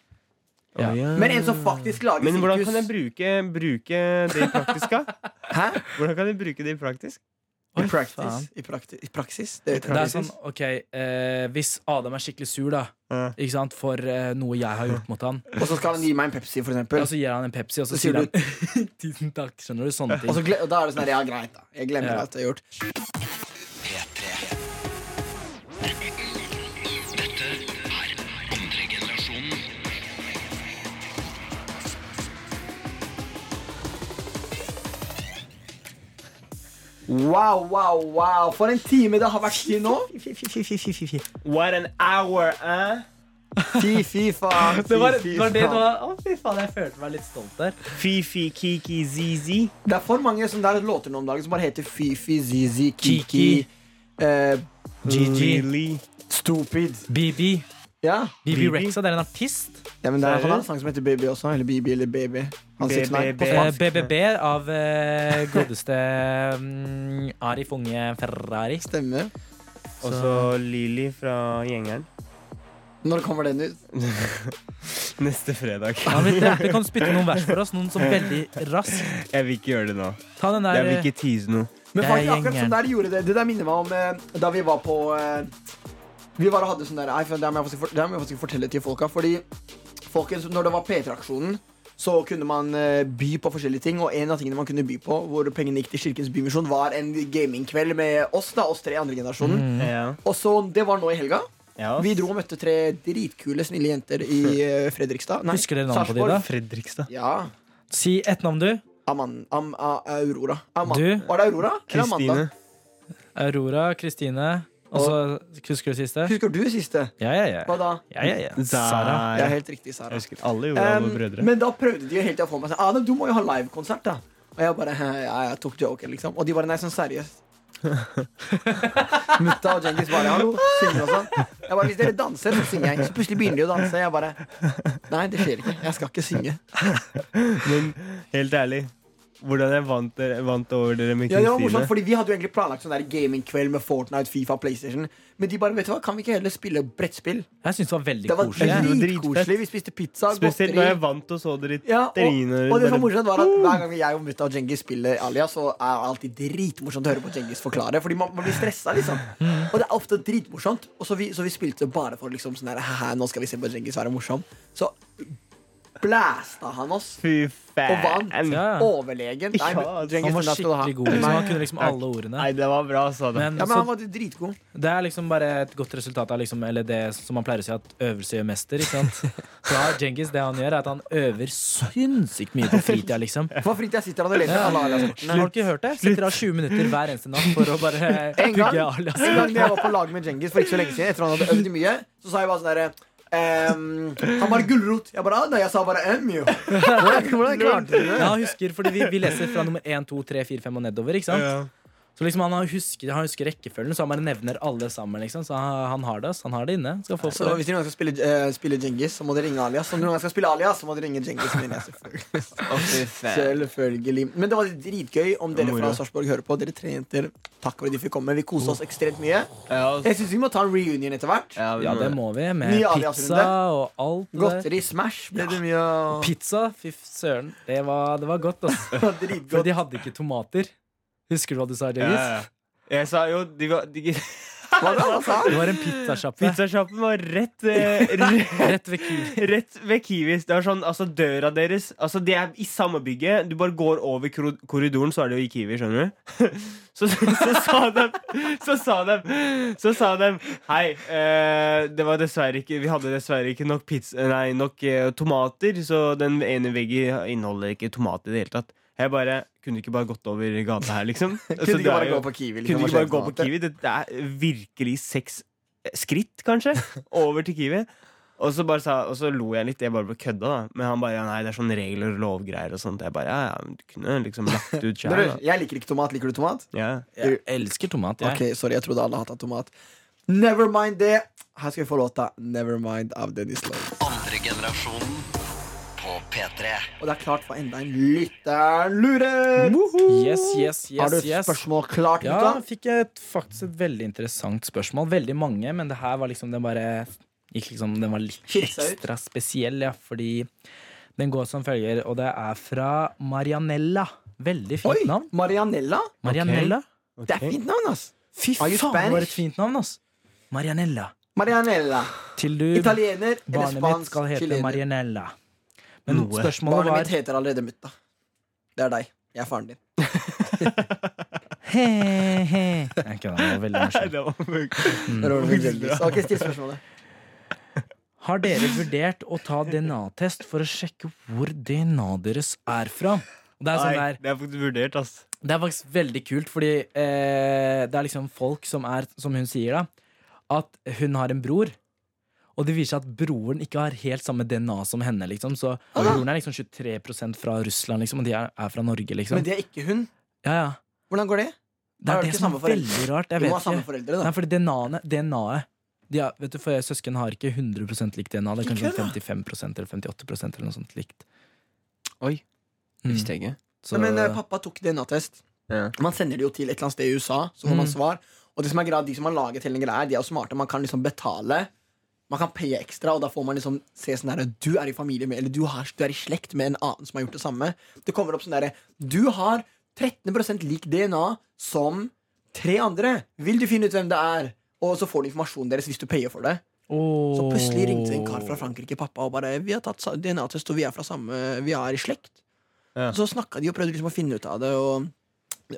S4: Ja.
S2: Å, ja.
S3: Men en som faktisk lager
S2: Men hvordan kan jeg
S3: sirkus
S2: bruke, bruke det i praktisk, da?
S3: Hæ?
S2: Hvordan kan jeg bruke det i praktisk?
S3: I
S4: Oi, faen.
S3: praksis. I, prakti- I praksis? Det vet jeg.
S4: Det er sånn, ok, eh, Hvis Adam er skikkelig sur da
S2: Ja.
S4: ikke sant, for eh, noe jeg har gjort mot han
S3: Og så skal han gi meg en Pepsi, for eksempel.
S4: og så gir han en Pepsi, og så
S3: Så
S4: sier
S3: sier
S4: han 'tusen takk'. Skjønner du? Sånne
S3: Og, så
S4: ting.
S3: gle og da er det sånn her, ja, greit, da. Jeg glemmer
S4: Ja.
S3: alt jeg har gjort.
S1: P3. Dette er andre generasjonen.
S3: Wow, wow, wow. For en time det har vært til nå.
S2: What an hour, eh?
S3: Fy, fy faen.
S4: Det var,
S3: Fy, fy
S4: var
S3: faen.
S4: det det var, å, fy faen, jeg følte meg litt stolt der.
S2: Fifi, Kiki, Zizi.
S3: Det er for mange som det er låter nå om dagen som bare heter Fifi, Zizi, Kiki,
S4: Kiki.
S3: eh,
S4: GG.
S2: Lily.
S3: Stupid.
S4: BB.
S3: Ja.
S4: BB
S2: BB.
S4: Rexa, det er en artist.
S3: ja, men det er,
S2: Ser du?
S3: han har en sang som heter Baby også. Eller Bibi eller Baby. Han sier sånn her på
S2: BBB.
S4: Eh,
S3: spansk.
S4: BBB av eh, godeste mm, Arif Unge Ferrari.
S3: Stemmer.
S2: Og så Lily fra gjengeren.
S3: Når kommer den ut?
S2: Neste fredag.
S4: Han vil, dere kan spytte noen vers for oss. Noen som veldig raskt.
S2: Jeg vil ikke gjøre det nå.
S4: Ta den
S2: Jeg
S4: der
S2: vil
S4: eh,
S2: ikke tease noe.
S3: Men
S4: Det er
S3: faktisk akkurat
S4: gjengen.
S3: sånn der gjorde det. Det der minner meg om eh, da vi var på eh, Vi var og hadde sånn der Nei, for det må jeg faktisk fort- det må jeg faktisk fortelle til folka. Fordi folkens, når det var P3-aksjonen, så kunne man eh, by på forskjellige ting. Og en av tingene man kunne by på, hvor pengene gikk til Kirkens Bymisjon, var en gamingkveld med oss, da, oss tre i andre generasjonen.
S4: Mm.
S2: Ja.
S3: Og så, Det var nå i helga.
S2: Ja.
S3: Vi dro og møtte tre dritkule, snille jenter i eh, Fredrikstad. Nei,
S4: Husker dere navnet på de
S3: Sarpsborg.
S4: da?
S2: Fredrikstad.
S3: Ja.
S4: Si ett navn, du.
S3: Aman, am, a, Aurora. Aman.
S4: Du?
S3: Var det Aurora? eller Amanda?
S2: Kristine.
S4: Aurora, Kristine. Og så husker du siste?
S3: Husker du siste?
S4: Ja, ja, ja.
S3: Hva da?
S4: ja, ja, ja. Sara.
S2: Sara.
S3: Ja, helt riktig, Sara.
S2: Jeg husker alle gjorde alle
S3: Um,
S2: brødre.
S3: men da prøvde de jo helt til å få meg sånn Adam, du må jo ha livekonsert, da. Og jeg bare «Hæ, ja, jeg tok joken, liksom. Og de bare nei, sånn seriøst. Mutta og Djengis bare hallo, synger og sånn. Jeg bare, Hvis dere danser, så synger jeg. Så plutselig begynner de å danse. Jeg bare Nei, det skjer ikke. Jeg skal ikke synge.
S2: Men helt ærlig, hvordan jeg vant, dere, vant over dere med
S3: Ja, det var
S2: Kristine?
S3: morsomt, fordi Vi hadde jo egentlig planlagt sånn der gamingkveld med Fortnite, Fifa, PlayStation. Men de bare, vet du hva, kan vi ikke heller spille brettspill?
S4: Jeg syns det var veldig
S3: Det var
S4: koselig.
S2: veldig-
S3: dritkoselig. Vi spiste pizza.
S2: Spesielt når jeg vant og så dere i
S3: Ja, og,
S2: trynet.
S3: og det som var
S2: bare-
S3: morsomt var
S2: Oh!
S3: at Hver gang jeg og mutta og Djengis spiller Alias, så er det alltid dritmorsomt å høre på Djengis forklare. Fordi man, man blir stressa, liksom. Og det er ofte dritmorsomt. Og så vi, så vi spilte bare for liksom sånn her «Haha, Nå skal vi se på Djengis være morsom. Så blæsta han oss.
S2: Fy
S3: Og
S2: faen.
S3: vant.
S4: Ja.
S3: Overlegen. Nei, men
S2: Ja,
S3: Djengis,
S4: Han var
S3: den der skal du ha.
S4: skikkelig god. Liksom. Han kunne liksom alle ordene.
S2: Nei, det var bra, sa det.
S4: Men,
S3: Ja, men
S4: så,
S3: han var dritgod.
S4: det er liksom bare et godt resultat av liksom, eller det som man pleier å si, at øvelse gjør mester. Ikke sant? Ja, Djengis, det han gjør, er at han øver sinnssykt mye på fritida, liksom.
S3: På fritida sitter han og leser alle Alias-kortene.
S4: Har du ikke hørt det? Setter av 20 minutter hver eneste natt for å bare
S3: En gang,
S4: pugge alias.
S3: en gang da jeg var på lag med Djengis for ikke så lenge siden, etter han hadde øvd mye, så sa jeg bare sånn derre ehm, Han bare gulrot. Jeg bare ah, Nei, jeg sa bare M, jo. Hvordan, hvordan klarte du det?
S4: Ja, jeg husker, fordi vi, vi leser fra nummer 1, 2, 3, 4, 5 og nedover. ikke sant? Så liksom han har- husker, han husker rekkefølgen, så han bare nevner alle sammen. liksom Så han, han har det ass, han har det inne. Skal få
S3: Så
S4: for det.
S3: hvis dere noen gang skal spille, eh, spille Djengis, så må dere ringe Alias. Om dere noen gang skal spille Alias, så må dere ringe Djengis. mener jeg selvfølgelig. Selvfølgelig. Men det var dritgøy om dere fra
S2: Moro.
S3: Sarpsborg hører på. Dere tre jenter, takk for at de fikk komme. Vi koste oss ekstremt mye.
S2: Ja,
S3: Jeg syns vi må ta en reunion etter hvert.
S4: Ja, det må vi. Med
S3: Ny
S4: pizza
S3: alias-runde.
S4: og alt det der.
S3: Godteri, Smash ble det mye av.
S4: Pizza? Fy søren. Det var, det var godt, ass. For
S3: Dritgodt.
S4: de hadde ikke tomater. Husker du hva du sa,
S2: Ja,
S4: Jengis?
S2: ja. Jeg sa jo de var, de,
S3: Hva da? Hva sa han?
S4: Det var en pizzasjappe
S2: Pizzasjappen var rett, eh, re-
S4: rett ved Kiwi.
S2: rett ved Kiwis. Det var sånn, altså Døra deres Altså De er i samme bygget. Du bare går over kro- korridoren, så er det jo i Kiwi. skjønner du? Så, så, sa dem Så sa dem Så sa dem Hei, eh, det var dessverre ikke vi hadde dessverre ikke nok pizza Nei, nok eh, tomater, så den ene veggen inneholder ikke tomater i det hele tatt. Jeg bare Kunne ikke bare gått over gata her, liksom?
S3: Kunne
S2: det
S3: ikke
S2: er
S3: bare
S2: jo-
S3: gå på Kiwi.
S2: Kunne
S3: Liksom,
S2: ikke
S3: og
S2: bare gå på
S3: kjøpe
S2: Kiwi. Det det er virkelig seks skritt, kanskje, over til Kiwi. Og så, bare sa, og så lo jeg litt, jeg bare kødda, da. Men han bare ja, nei, det er sånn regler og lovgreier og sånt. Jeg bare ja, ja, men du kunne liksom lagt det ut sjæl,
S3: Bror,
S2: da.
S3: jeg liker ikke tomat. Liker du tomat?
S2: Ja.
S4: Jeg elsker tomat, jeg.
S3: Ok, Sorry, jeg trodde alle hata tomat. Never mind det. Her skal vi få låta Never Mind av Dennis Lloyd.
S1: Andre generasjonen på P3.
S3: Og det er klart for enda en lytter lurer!
S4: Yes, yes, yes,
S3: Har du
S4: yes.
S3: spørsmål klart,
S4: Ja,
S3: gutta?
S4: jeg fikk et, faktisk et veldig interessant spørsmål. Veldig mange, men det her var liksom Den bare gikk liksom Den var litt
S3: Skilte seg ut.
S4: ekstra spesiell, ja, fordi den går som følger, og det er fra Marianella. Veldig fint
S3: Oi!
S4: navn.
S3: Marianella?
S4: Marianella.
S3: Det er fint navn, ass.
S4: Fy
S3: Are
S4: faen,
S3: you
S4: det var
S3: Spanish?
S4: et fint navn, ass. Marianella.
S3: Marianella.
S4: Til du
S3: Italiener eller
S4: Barnet mitt
S3: spansk
S4: skal hete
S3: chilener?
S4: Marianella. Men
S2: Noe.
S4: spørsmålet
S3: Barnet mitt
S4: var Mm.
S3: heter allerede Mutta. Det er deg. Jeg er faren din.
S4: He, he. Jeg kødder, det var veldig morsomt.
S2: Det var
S3: Det var veldig bra. Ok, still
S4: Sånn.
S3: spørsmålet.
S4: Har dere vurdert å ta DNA-test for å sjekke hvor DNA-et deres er fra? Og Det er, sånn
S2: Nei,
S4: der,
S2: det er faktisk vurdert, ass.
S4: det er faktisk veldig kult, fordi eh, det er liksom folk som er, som hun sier da, at hun har en bror, og det viser seg at broren ikke har helt samme DNA som henne, liksom. Så broren er liksom 23 fra Russland, liksom, og de er, er fra Norge, liksom.
S3: Men det er ikke hun.
S4: Ja, ja.
S3: Hvordan går det?
S4: Det
S3: Har dere
S4: er det
S3: ikke
S4: som
S3: samme
S4: er
S3: foreldre?
S4: veldig rart. Jeg
S3: Du
S4: vet
S3: må ha samme
S4: ikke.
S3: foreldre,
S4: Nei,
S3: da.
S4: fordi DNA-et DNA de er, vet du, for Søsken har ikke 100 likt DNA. Det er kanskje
S3: Ikke
S4: sånn 55 eller 58 eller noe sånt likt.
S2: Oi,
S4: Mm.
S2: visste jeg ikke.
S4: Så,
S3: Nei, men eh, pappa tok DNA-test.
S2: Ja.
S3: Man sender det jo til et eller annet sted i USA, så får man
S4: Mm.
S3: svar. Og det som er greit, de som har laget hele den greia, de er jo smarte. Man kan liksom betale. Man kan paye ekstra, og da får man liksom se sånn der Du er i familie med, eller du, har, du er i slekt med en annen som har gjort det samme. Det kommer opp sånn derre Du har 13 lik DNA som tre andre. Vil du finne ut hvem det er? Og så får du informasjonen deres hvis du payer for det.
S4: Åh.
S3: Så plutselig ringte en kar fra Frankrike, pappa, og bare 'Vi har tatt sa- DNA-test, og vi er fra samme Vi er i slekt'.
S2: Ja.
S3: Og Så snakka de og prøvde liksom å finne ut av det, og,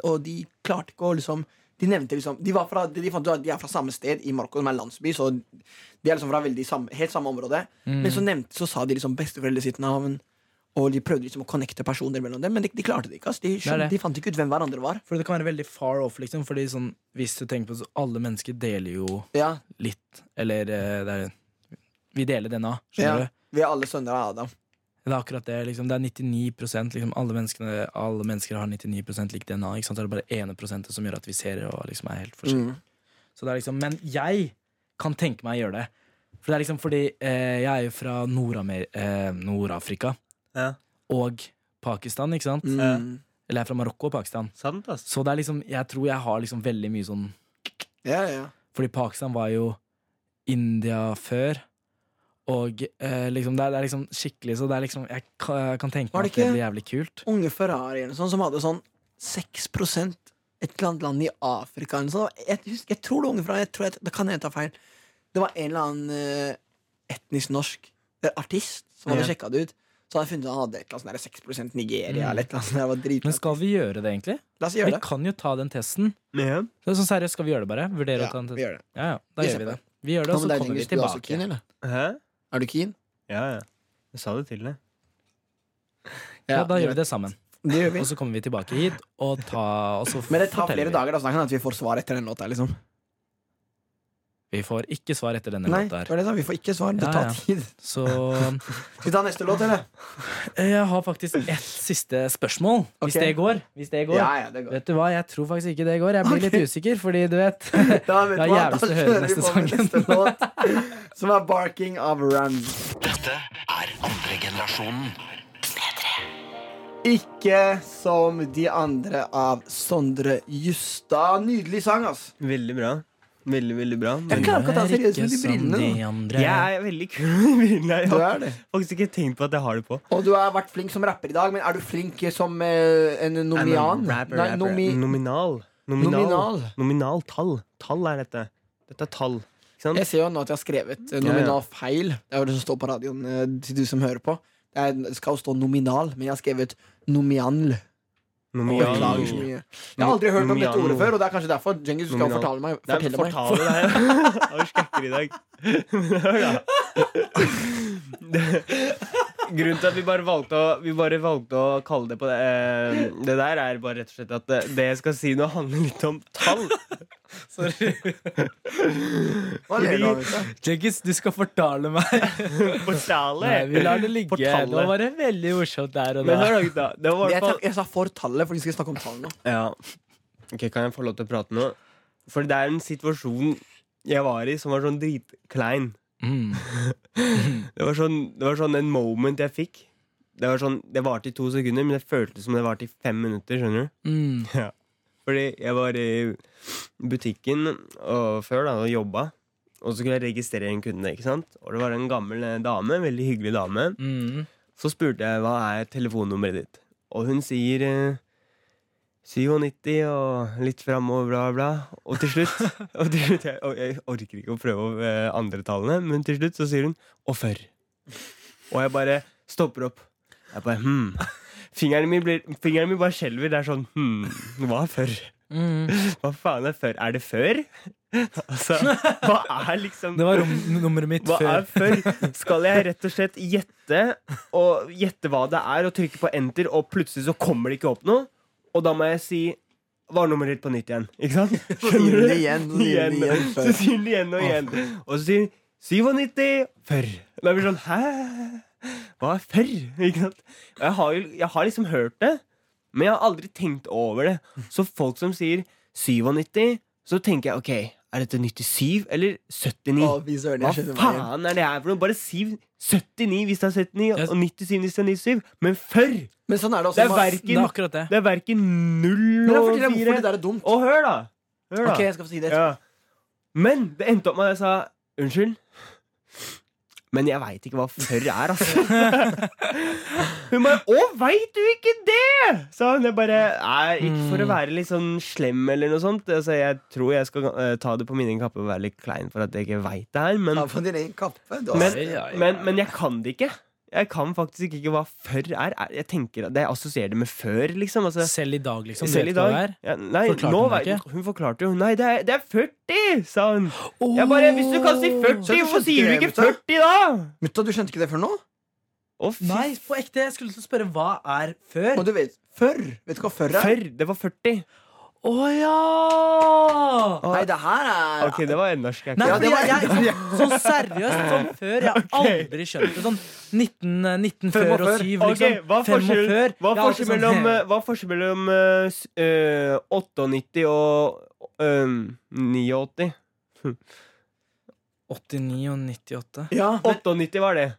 S3: og de klarte ikke å liksom De nevnte liksom De, var fra, de fant ut at de er fra samme sted i Marokko, som er en landsby, så de er liksom fra veldig samme, helt samme område. Men så nevnte Så sa de liksom besteforeldre sitt navn, og de prøvde liksom å connecte personer mellom dem, men de, de klarte det ikke. ass. De,
S4: er
S3: skjønte,
S4: det.
S3: de fant ikke ut hvem hverandre var.
S4: For det kan være veldig far off, liksom. Fordi sånn, hvis du tenker på det, så alle mennesker deler jo
S3: Ja,
S4: litt. Eller eh, det er, vi deler DNA,
S3: ja.
S4: skjønner du?
S3: Vi er alle sønner av Adam.
S4: Det er akkurat det. liksom Det er 99 liksom, alle, menneskene, alle mennesker har 99 lik DNA. Ikke sant? Så er det bare 1 som gjør at vi ser og liksom er helt forskjellige.
S3: Mm.
S4: Så det er liksom, men jeg kan tenke meg å gjøre det. For det er liksom fordi eh, jeg er jo fra Nordamer eh, Nord-Afrika
S2: Ja.
S4: og Pakistan, ikke sant?
S3: Mm.
S4: Eller jeg er fra Marokko og Pakistan.
S2: Sant, ass.
S4: Så det er liksom, jeg tror jeg har liksom veldig mye sånn
S3: Ja, ja.
S4: Fordi Pakistan var jo India før. Og eh, liksom, det er, det er liksom skikkelig Så det er liksom, jeg kan, jeg kan tenke
S3: Var
S4: meg
S3: det
S4: at det
S3: ikke-
S4: blir jævlig kult.
S3: unge Ferrari eller sånn, som hadde sånn 6 et eller annet land i Afrika eller sånn. jeg, husker, jeg tror det var unge Ferrari, jeg tror jeg, det kan jeg ta feil. Det var en eller annen eh, etnisk norsk eh, artist som hadde
S2: Ja.
S3: sjekka det ut. Så hadde jeg funnet ut at han hadde et eller annet sånn der 6 Nigeria
S4: Mm.
S3: eller et eller annet sånt. der. Det var
S4: Men
S3: dritfett.
S4: skal vi gjøre det, egentlig?
S3: La oss
S4: Vi
S3: gjøre det.
S4: kan jo ta den testen.
S2: Ja.
S4: Så sånn seriøst, skal vi gjøre det, bare? Vurdere
S3: Ja,
S4: å ta den
S3: vi
S4: testen?
S3: gjør det.
S4: Ja, ja, da
S3: Vi
S4: gjør
S3: ser
S4: vi
S3: på
S4: det. Vi gjør det,
S3: Ja,
S4: og
S3: men
S4: så
S3: det er
S4: kommer vi
S3: Dingus, du er også
S4: tilbake.
S3: keen, eller?
S2: Hæ?
S3: Er du keen?
S2: Ja, ja. Jeg sa det til deg.
S4: Ja, da gjør vi det sammen.
S3: Det gjør vi.
S4: Og så kommer vi tilbake hit og, ta, og så
S3: Men det tar
S4: forteller
S3: flere
S4: vi.
S3: dager da, så det kan hende at vi får svar etter den låta. liksom
S4: Vi får ikke svar etter denne
S3: Nei,
S4: låta
S3: det
S4: her.
S3: var det, da. vi får ikke svar. Det
S4: Ja,
S3: tar
S4: ja.
S3: tid.
S4: Så eh,
S3: Skal vi ta neste låt, eller?
S4: jeg har faktisk ett siste spørsmål, hvis
S3: Ok.
S4: det går. Hvis det går.
S3: Ja, ja, det går.
S4: Vet du hva, jeg tror faktisk ikke det går. Jeg blir litt usikker, fordi du vet
S3: Da, vet du
S4: Det er
S3: hva, da
S4: jævlig å
S3: kjører
S4: høre
S3: vi på
S4: neste
S3: med
S4: sangen.
S3: neste låt, som er 'Barking of Rams'.
S1: Dette er andre generasjonen.
S3: Ikke som de andre av Sondre Justad. Nydelig sang, ass.
S2: Veldig bra. Veldig, veldig bra.
S3: Jeg klarer ikke å ta
S4: Det er
S3: seriøst
S4: ikke
S3: med de
S4: som
S3: brillene.
S4: de
S3: da.
S4: andre.
S2: Jeg er veldig kul med brillene. Jeg
S3: Du
S2: har
S3: er det.
S2: faktisk ikke tenkt på at jeg har det på.
S3: Og du har vært flink som rapper i dag, men er du flink som eh, en nomian?
S2: I'm a rapper,
S3: Nei,
S2: rapper.
S3: nomi...
S2: Nominal.
S3: Nominal.
S2: Nominal tall. Tall er dette. Dette er tall. Ikke sant?
S3: Jeg ser jo nå at jeg har skrevet eh, nominal feil. Det er jo det som står på radioen eh, til du som hører på. Det er- det skal jo stå nominal, men jeg har skrevet nomianl. Beklager så mye. Jeg har aldri hørt om dette ordet før, og det er kanskje derfor. Djengis, du skal
S2: Nominal.
S3: fortale meg.
S2: Det er
S3: Fortelle meg.
S2: fortaler det her. Jeg har skrekker i dag. Hør da. Grunnen til at vi bare valgte å, vi bare valgte å kalle det på det, eh, det der, er bare rett og slett at eh, det jeg skal si nå, handler litt om tall.
S3: Hva ler du av, Victor?
S4: Jeggis, du skal fortale meg.
S2: Fortale.
S4: Nei, vi lar det ligge.
S2: Fortale.
S4: Det var bare veldig morsomt der og
S2: Men
S4: da.
S2: hør da, gutta. Det var i
S3: Jeg
S2: hvert
S3: sa-
S2: fall
S3: Jeg sa for tallet, for vi skal snakke om tall nå.
S2: Ja. Ok, Kan jeg få lov til å prate nå? For det er en situasjon jeg var i som var sånn dritklein.
S4: Mm.
S2: Det var sånn, det var sånn en moment jeg fikk Det var sånn, det varte i to sekunder, men det føltes som det varte i fem minutter. skjønner du?
S4: Mm.
S2: Fordi jeg var i butikken og før da, og jobba, og så skulle jeg registrere en kunde. ikke sant? Og det var en gammel eh, dame, en veldig hyggelig dame.
S4: Mm.
S2: Så spurte jeg hva er telefonnummeret ditt. Og hun sier eh, 97 og litt framover, bla, bla. Og til slutt, og til slutt jeg, og jeg orker ikke å prøve eh, andre tallene, men til slutt så sier hun 'og før'. Og jeg bare stopper opp. Jeg bare, hmm. Fingeren min, blir, fingeren min bare skjelver. Det er sånn hmm, Hva er før?
S4: Mm.
S2: Hva faen er før? Er det før? Altså, hva er liksom
S4: Det var rom nummeret mitt
S2: hva
S4: før.
S2: er før? Skal jeg rett og slett gjette Og gjette hva det er, og trykke på enter, og plutselig så kommer det ikke opp noe? Og da må jeg si varenummeret ditt på nytt igjen. Ikke sant? Skjønner du?
S3: Igjen, igjen, igjen, før.
S2: Så sier den igjen og igjen. Og så sier den 97 før. Da blir det sånn Hæ? Hva er før? Ikke sant? Og Jeg har, jo, jeg har liksom hørt det, men jeg har aldri tenkt over det. Så folk som sier 97, så tenker jeg OK, er dette 97 eller 79?
S3: Å, fy søren,
S2: Hva
S3: jeg skjønner meg igjen.
S2: faen er det her for noe? Bare siv 79 hvis det er 79,
S4: Jeg-
S2: og 97 hvis det er 97. Men før!
S3: Men sånn er det
S2: Det
S3: også.
S2: er
S3: med-
S4: Det er
S2: verken,
S4: akkurat det.
S2: det er verken
S3: Men
S2: 0
S3: jeg forteller
S2: og
S3: deg hvorfor
S2: 4.
S3: det der er dumt.
S2: Og hør, da! Hør da.
S3: Ok, jeg skal få si det.
S2: ja. Men det endte opp med at jeg sa unnskyld. Men jeg veit ikke hva før er, altså. Hun bare 'Å, veit du ikke det?!' sa hun. Jeg bare Nei, ikke
S3: Hmm.
S2: for å være litt sånn slem eller noe sånt. Altså, jeg tror jeg skal eh, ta det på min egen kappe og være litt klein for at jeg ikke veit det her, men
S3: Ta på din egen kaffe. Du,
S2: men,
S3: altså.
S2: men, men jeg kan det ikke. Jeg kan faktisk ikke hva før er. Er- Jeg tenker at Jeg assosierer det med før, liksom. Altså,
S4: Selv i dag, liksom.
S2: selv i dag. Ja, nei,
S4: Forklarte
S2: nå
S4: hun
S2: vet-
S4: det ikke?
S2: hun forklarte jo Nei, det er, det er 40, sa hun. Jeg bare, Hvis du kan si 40,
S3: Så du
S2: hvorfor sier du ikke
S3: skrev det?
S2: 40 da?
S3: Mutta, du skjønte ikke det før nå?
S2: Å, fy
S4: Nei, på ekte. Jeg skulle til å spørre hva er før.
S3: Og du vet, før. Vet du hva før er?
S2: Før, det var 40.
S4: Å ja!
S3: Nei, det her er
S2: Ok, det var en norsk. jeg
S4: Nei,
S3: Ja,
S2: kan-
S3: det
S4: fordi
S3: var-
S4: jeg, jeg, sånn seriøst, sånn før. Jeg har aldri skjønt det. Sånn 19, eh, 19
S3: Fem og
S4: før og
S3: før.
S4: 7,
S2: Ok,
S4: liksom.
S2: hva er
S4: Fem og før.
S2: forskjellen hva er
S4: Jeg har alltid
S2: forskjellen mellom,
S4: sånn,
S2: eh, hva er forskjellen mellom eh, s- eh, 98 og eh, 89?
S4: 89 og 98.
S3: Ja, men,
S2: 98 var det.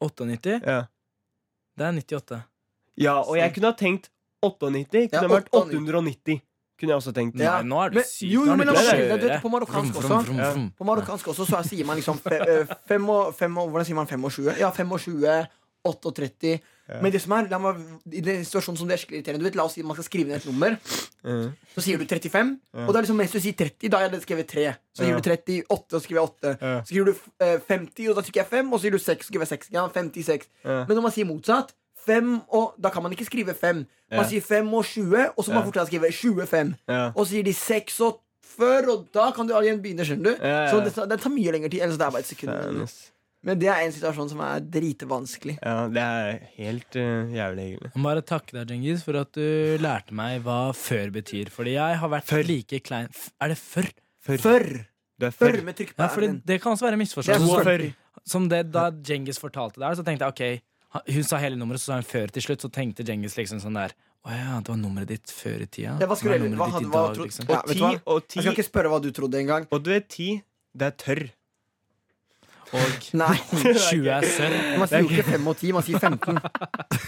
S4: 98?
S2: Ja.
S4: Det er 98.
S2: Ja, og jeg kunne ha tenkt 98. Kunne
S3: Ja,
S2: ha vært
S3: 890.
S2: 890. Kunne jeg også tenkt.
S3: Ja.
S4: Nei, nå er
S3: men,
S4: det sykt.
S3: jo, jo,
S4: Nå er
S3: men
S4: det
S3: det var
S2: det.
S3: skjønner jeg, du vet, på marokkansk også
S4: Vroom, vroom, vroom,
S2: Ja.
S4: vroom.
S3: På marokkansk også så er- sier man liksom fe, eh, fem og, fem og, Hvordan sier man 25? Ja, 25, 38 Men det som er, la meg, i den situasjonen som det er skikkelig irriterende Du vet, La oss si man skal skrive ned et nummer.
S2: Mm.
S3: Så sier du 35. Og da er liksom mens du sier 30, da har jeg skrevet 3. Så
S2: Ja.
S3: skriver du 38, og så skriver jeg 8.
S2: Ja.
S3: Så skriver du eh, 50, og da trykker jeg 5. Og så sier du 6, og skriver jeg 6. Ja, 56.
S2: Ja.
S3: Men når man sier motsatt, 5 og Da kan man ikke skrive 5. Man
S2: Ja.
S3: sier 5 og 20, og så må man fortsatt skrive 25.
S2: Ja.
S3: Og så sier de 6 og 40, og da kan du igjen begynne, skjønner du.
S2: Ja, ja, ja.
S3: Så det, tar- det tar mye lengre tid. Ellers det er bare et sekund.
S2: Faen, ass.
S3: Men det er en situasjon som er dritevanskelig.
S2: Ja, det er helt eh, jævlig hyggelig.
S4: Jeg må bare takke deg, Djengis, for at du lærte meg hva før betyr. Fordi jeg har vært like klein F- Er det før?
S3: Før!
S2: Du er
S3: Før
S2: før.
S3: med trykk på
S4: Ja, fordi
S3: r-en.
S4: det kan også være
S3: Det er
S4: misforstått.
S2: Du
S3: før.
S2: er før.
S4: Som det da Djengis fortalte der, så tenkte jeg ok han- Hun sa hele nummeret, så sa hun før til slutt. Så tenkte Djengis liksom sånn der Å ja, det var nummeret ditt før i tida.
S3: Ja, hva skulle
S4: Det
S3: jeg-
S4: var nummeret
S3: hva
S4: ditt
S3: hadde-
S4: i
S3: hva
S4: dag,
S3: tro-
S4: liksom.
S3: Ja,
S2: Og
S3: vet du
S2: ti,
S3: hva?
S2: og
S3: Jeg skal
S2: ti,
S3: ikke spørre hva du trodde engang.
S2: og du vet ti, det er tørr.
S4: Og
S3: Nei.
S4: 20 er sølv.
S3: Man sier jo ikke 5 og 10, man sier 15.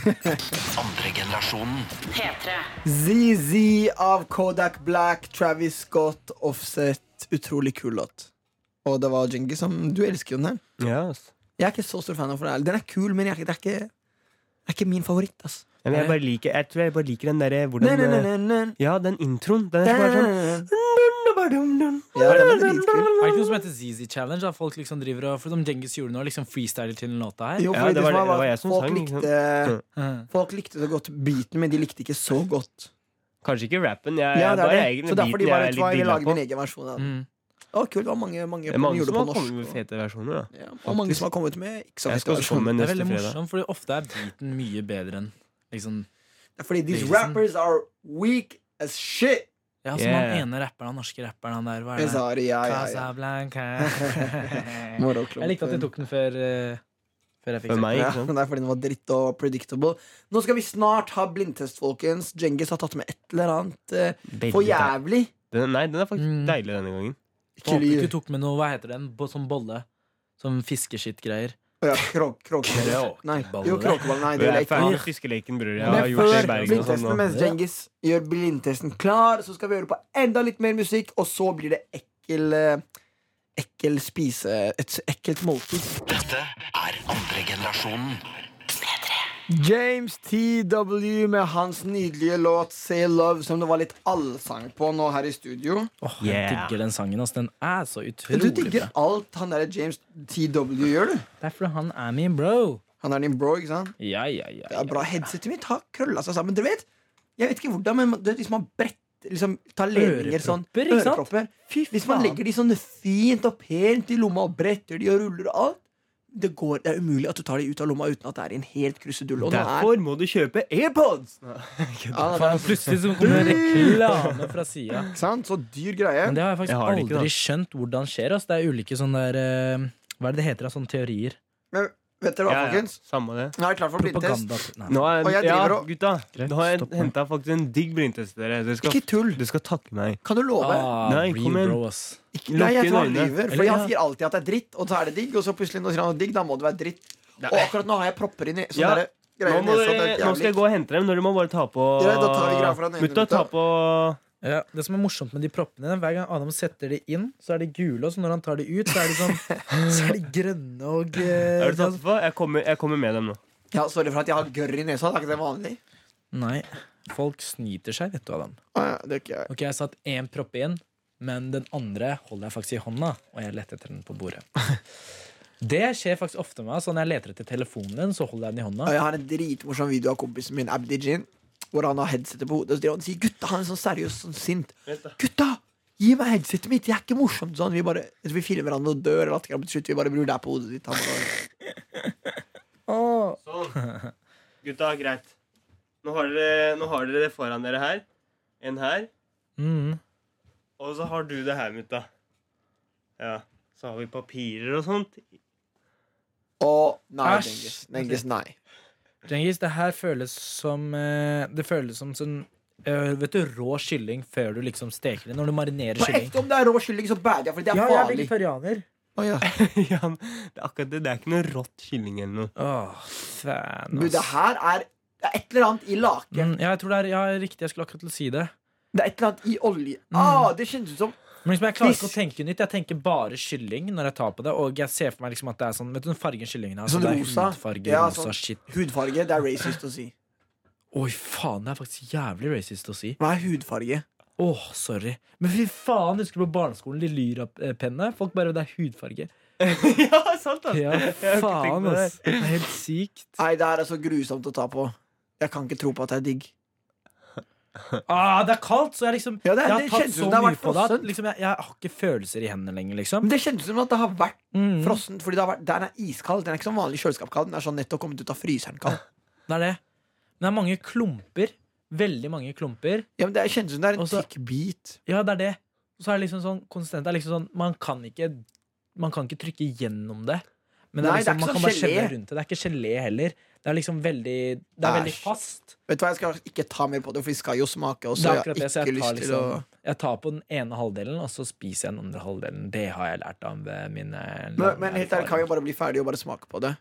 S1: Andre generasjonen.
S6: P3.
S3: ZZ av Kodak Black, Travis Scott, Offset. Utrolig kul låt. Og det var Djengis som Du elsker jo den her.
S2: Ja, ass.
S3: Jeg er ikke så stor fan av den. Den er kul, men jeg, det, er ikke, det er ikke min favoritt. ass
S2: Ja, men jeg, bare liker, jeg tror jeg bare liker den derre hvordan
S3: Nei, nei, nei,
S2: eh,
S3: nei, nei.
S2: Ja, den introen. Den er
S3: Ja,
S2: så bare sånn
S3: den er dritkul.
S4: Er det ikke noe som heter ZZ Challenge? Da folk liksom driver og For som Djengis gjorde nå, liksom freestyler til den låta her.
S3: Jo,
S2: Ja,
S3: fordi
S2: det var-
S3: som
S2: det var jeg som
S3: folk
S2: sang, liksom. ikke sant?
S3: Likte,
S4: Mm.
S3: folk likte så godt beaten, men de likte ikke så godt.
S2: Kanskje ikke rappen. Jeg,
S3: Ja, det
S2: bare
S3: er det.
S2: egentlig
S3: Så derfor de
S2: biten
S3: bare
S2: jeg er
S3: vet du hva,
S2: litt
S3: vi
S2: dilla
S3: lager
S2: på.
S3: min egen versjon av den.
S4: Mm.
S3: Å, kult, det var mange, mange,
S2: Det er mange
S3: gjorde det
S2: som har
S3: på
S2: kommet med
S3: norsk. og-
S2: fete versjoner. da
S3: Ja, og mange
S2: Faktisk.
S3: som har kommet med ikke så
S2: Jeg
S3: fete
S2: skal også
S3: versjoner.
S2: komme med
S4: Det er
S2: neste
S4: veldig
S2: fredag.
S4: morsomt, fordi ofte er beaten mye bedre enn liksom
S3: Det er Fordi these
S4: Prisen.
S3: rappers are weak as shit.
S4: Ja, som
S2: Yeah.
S4: han ene rapperen, han norske rapperen, han der, hva
S3: Jeg
S4: er det?
S3: sa det, ah, ja, ja, ja.
S4: Casablanca.
S3: Morgenklumpen.
S4: Jeg likte at de tok den før, eh, før jeg fikk
S2: For meg,
S3: Ja,
S2: ikke sant?
S3: men det er fordi den var dritt og predictable. Nå skal vi snart ha blindtest, folkens. Djengis har tatt med et eller annet eh,
S2: Veldig
S3: for
S2: deilig.
S3: jævlig.
S2: Den, nei, den er faktisk
S4: Mm.
S2: deilig denne gangen.
S4: Håper
S3: Klyr.
S4: ikke du tok med noe, hva heter den, Bo- sånn bolle? Sånn fiskeskittgreier.
S3: Å ja, krok, krokeball. Nei. Jo, krokeball. Nei, det
S2: Det
S3: er
S2: er
S3: lek.
S2: ferdig fiskeleken, bror. Jeg har
S3: Men
S2: gjort det i
S3: før
S2: Bergen og sånn.
S3: blindtesten
S2: og-
S3: mens Djengis gjør blindtesten klar, så skal vi høre på enda litt mer musikk, og så blir det ekkel eh, Ekkel spise Et ekkelt måltid.
S1: Dette er andre generasjonen.
S3: James TW med hans nydelige låt 'Say Love', som det var litt allsang på nå her i studio.
S4: Åh, Jeg
S2: Yeah.
S4: digger den sangen. ass. Den er så
S3: Du
S4: utrolig
S3: digger
S4: bra.
S3: alt han derre James TW gjør, du.
S4: Det er fordi han er min bro.
S3: Han er din bro, ikke sant?
S4: Ja, ja, ja.
S3: Det er bra. Headsetet mitt har krølla seg sammen. Dere vet, jeg vet ikke hvordan, men det, hvis man bretter liksom, tar ledninger sånn
S4: Ørepropper, ikke sant?
S3: Ørepropper. Hvis man legger de sånn fint og pent i lomma og bretter de og ruller og alt det, går, det er umulig at du tar de ut av lomma uten at det er i en helt krusedull. Og nå er,
S2: Derfor må du kjøpe AirPods!
S3: ja, det
S4: Faen, plutselig så kommer det reklame fra sida.
S3: er sant? Så dyr greie.
S4: Men det har jeg faktisk
S2: Jeg har det ikke,
S4: aldri
S2: da.
S4: skjønt hvordan skjer. Ass. Det er ulike sånne der eh, Hva er det det heter? da? Sånne teorier?
S3: Men vet dere hva,
S2: Ja, ja.
S3: folkens?
S2: Samme det.
S3: Nå er det klart for blindtest.
S4: Propaganda Nei.
S2: Nå er,
S3: Og jeg
S2: ja,
S3: driver og-
S2: gutta, nå har jeg
S4: stopp nå.
S2: henta faktisk en digg blindtest til dere. Dere skal,
S3: Ikke tull.
S2: dere skal takke meg.
S3: Kan du love?
S4: Ah,
S2: Nei,
S4: real
S2: kom igjen.
S4: bro, ass.
S3: Ikke, nei, jeg
S2: Lukke
S3: tror han
S2: øynene.
S3: lyver.
S4: Eller,
S3: For han
S4: ja.
S3: sier alltid at det er dritt, og så er det digg, og så plutselig når han sier han er digg, da må det være dritt. Og akkurat nå har jeg propper inni sånne
S2: Ja.
S3: der
S2: Nå,
S3: greier i
S2: må
S3: nesa.
S2: dere,
S3: det er
S2: nå skal jeg
S3: jævlig.
S2: gå og hente dem. Dere må bare ta på
S3: Greit, da tar vi greia fra den ene
S2: Mutta, ta
S3: gutta.
S2: på
S4: Ja, det som er morsomt med de proppene Hver gang Adam setter de inn, så er de gule. Og så når han tar de ut, så er de, sånn, så er de grønne og eh,
S2: Er du tatt på? Jeg kommer, jeg kommer med dem nå.
S3: Ja, Sorry for at jeg har gørr i nesa. Det er ikke det vanlig.
S4: Nei. Folk snyter seg, vet du, Adam.
S3: Ah, ja, det er ikke jeg.
S4: Ok, Jeg satt én propp inn, men den andre holder jeg faktisk i hånda. Og jeg leter etter den på bordet. Det skjer faktisk ofte med meg. Så når jeg leter etter telefonen din, så holder jeg den i hånda.
S3: Og jeg har en dritmorsom video av kompisen min, Abdijin, hvor han har headsetet på hodet. Og så driver han og sier 'gutta', han er sånn seriøs, sånn sint. 'Gutta, gi meg headsetet mitt, jeg er ikke morsom'. Sånn, vi bare Vi filmer han og dør, eller at til slutt vi bare bror, det er på hodet ditt. Han bare,
S2: Gutta, greit. Nå har, dere, nå har dere det foran dere her. En her.
S4: Mm.
S2: Og så har du det her, mutta. Ja. Så har vi papirer og sånt.
S3: Å, nei,
S4: Æsj.
S3: Dengis. Dengis, nei.
S4: Djengis, det her føles som eh, Det føles som sånn eh, Vet du, rå kylling før du liksom steker det. Når du marinerer
S3: På
S4: kylling.
S3: ekte, om det er rå kylling, så bader jeg, for det er farlig.
S4: vegetarianer.
S3: Å, ja.
S2: ja, men det er akkurat det. Det er ikke noe rått kylling eller noe.
S4: Åh, faen,
S3: Du, det
S4: ass.
S3: her er det er et eller annet i laken.
S4: Mm, ja, jeg tror det er ja, riktig. Jeg skulle akkurat til å si det.
S3: Det er et eller annet i olje. Ah, det kjennes ut som
S4: Men liksom, jeg klarer ikke å tenke nytt. Jeg tenker bare kylling når jeg tar på det. Og jeg ser for meg liksom at det er sånn Vet du den fargen kyllingen har?
S3: Sånn
S4: det er
S3: rosa.
S4: hudfarge,
S3: Ja,
S4: rosa
S3: sånn.
S4: shit.
S3: hudfarge. Det er racist å si.
S4: Oi, faen, det er faktisk jævlig racist å si.
S3: Hva er hudfarge?
S4: Åh, sorry. Men fy faen, husker du på barneskolen de lyrapennene? Folk bare Det er hudfarge.
S2: ja, sant, ass. Jeg
S4: Ja,
S2: har ikke tenkt
S4: faen,
S2: på det.
S4: ass. Det er helt sykt.
S3: Nei, det her er så grusomt å ta på. Jeg kan ikke tro på at det er digg.
S4: Ah, det er kaldt, så jeg liksom
S3: Ja, det er-
S4: Jeg har
S3: det
S4: tatt
S3: kjennes ut
S4: så
S3: som det har
S4: mye
S3: vært
S4: på det at
S3: frossent.
S4: liksom, jeg, jeg har ikke følelser i hendene lenger, liksom.
S3: Men det kjennes ut som at det har vært
S4: Mm.
S3: frossen. Fordi det har vært, den er iskald. Den er ikke som vanlig kjøleskapkald. Den er sånn nettopp kommet ut av fryseren kald.
S4: Det er det. Men det er mange klumper. Veldig mange klumper.
S3: Ja, men det kjennes ut som det er en
S4: Også-
S3: tikk bit.
S4: Ja, det er det. Og så er det liksom sånn konsistent. Det er liksom sånn, man kan ikke Man kan ikke trykke gjennom det.
S3: Nei,
S4: Men det er
S3: det er
S4: liksom,
S3: ikke
S4: man
S3: sånn
S4: kan bare skjelle
S3: gelé.
S4: rundt det. Det er ikke gelé heller. Det er liksom veldig Det er veldig
S3: Æsj.
S4: fast.
S3: Vet du hva, jeg skal ikke ta mer på det, for vi skal jo smake. Og så
S4: Det er
S3: jeg har
S4: akkurat det,
S3: ikke
S4: så jeg tar
S3: lyst til å
S4: liksom Jeg tar på den ene halvdelen, og så spiser jeg den andre halvdelen. Det har jeg lært av eh, mine
S3: men, men helt ærlig, kan vi
S4: erfaringer.
S3: bare bli ferdig og bare smake på det?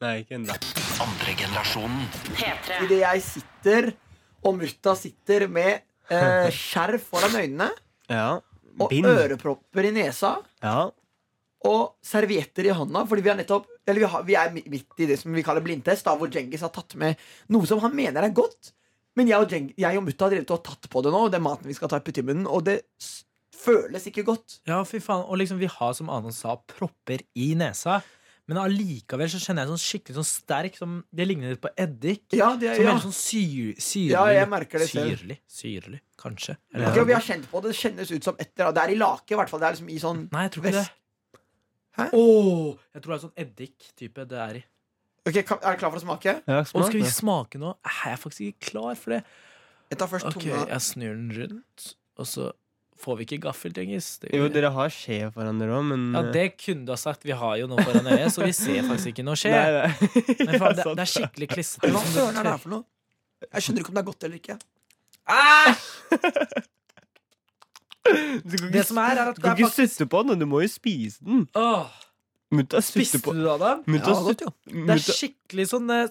S2: Nei, ikke ennå.
S1: Andre generasjonen.
S6: P3.
S3: Idet jeg sitter, og mutta sitter med eh, skjerf foran øynene
S2: Ja.
S3: og
S2: Bind.
S3: ørepropper i nesa
S2: Ja.
S3: og servietter i hånda, fordi vi er nettopp Eller vi, har, vi er mi- midt i det som vi kaller blindtest, da, hvor Djengis har tatt med noe som han mener er godt. Men jeg og, Djeng- jeg og mutta har drevet og tatt på det nå, og det er maten vi skal ta i putt i munnen, og det s føles ikke godt.
S4: Ja, fy faen. Og liksom, vi har, som Anon sa, propper i nesa. Men allikevel så kjenner jeg sånn skikkelig sånn sterk som Det ligner litt på eddik.
S3: Ja, det,
S4: Som
S3: ja.
S4: veldig sånn syr, syrlig.
S3: Ja, jeg merker det selv.
S4: Syrlig, syrlig, kanskje.
S3: Jeg tror vi har kjent på det. Det kjennes ut som et eller annet. Det er i lake, i hvert fall. Det er liksom i sånn
S4: Nei, jeg tror ikke det.
S3: Hæ?
S4: Åh, jeg tror det er sånn eddik-type det er i.
S3: Ok, kan- Er du klar for å smake?
S2: ja
S4: Og skal vi
S2: smak,
S4: smake nå? Nei, Jeg er faktisk ikke klar for det.
S3: Jeg tar først
S4: Ok,
S3: tunga.
S4: jeg snur den rundt, og så får vi ikke gaffel, Djengis. Det
S2: da. Jo,
S4: gjør vi.
S2: dere har skje foran dere òg, men eh,
S4: Ja, det kunne du ha sagt. Vi har jo noe foran øyet, så vi ser faktisk ikke noe skje.
S2: Nei, nei.
S4: Men faen, det,
S2: sant
S4: det er skikkelig klissete.
S3: Hva
S4: liksom.
S3: søren er det her for noe? Jeg skjønner ikke om det er godt eller ikke.
S2: Du kan
S4: Det
S2: ikke,
S4: som er, er at
S2: du kan ikke sutte på den, og du må jo spise den.
S4: Åh,
S2: Mutta
S4: Spiste
S2: sutter på
S4: du av dem?
S2: Mutta
S3: Ja, godt,
S2: sutter
S3: jo.
S4: Det er skikkelig sånn eh,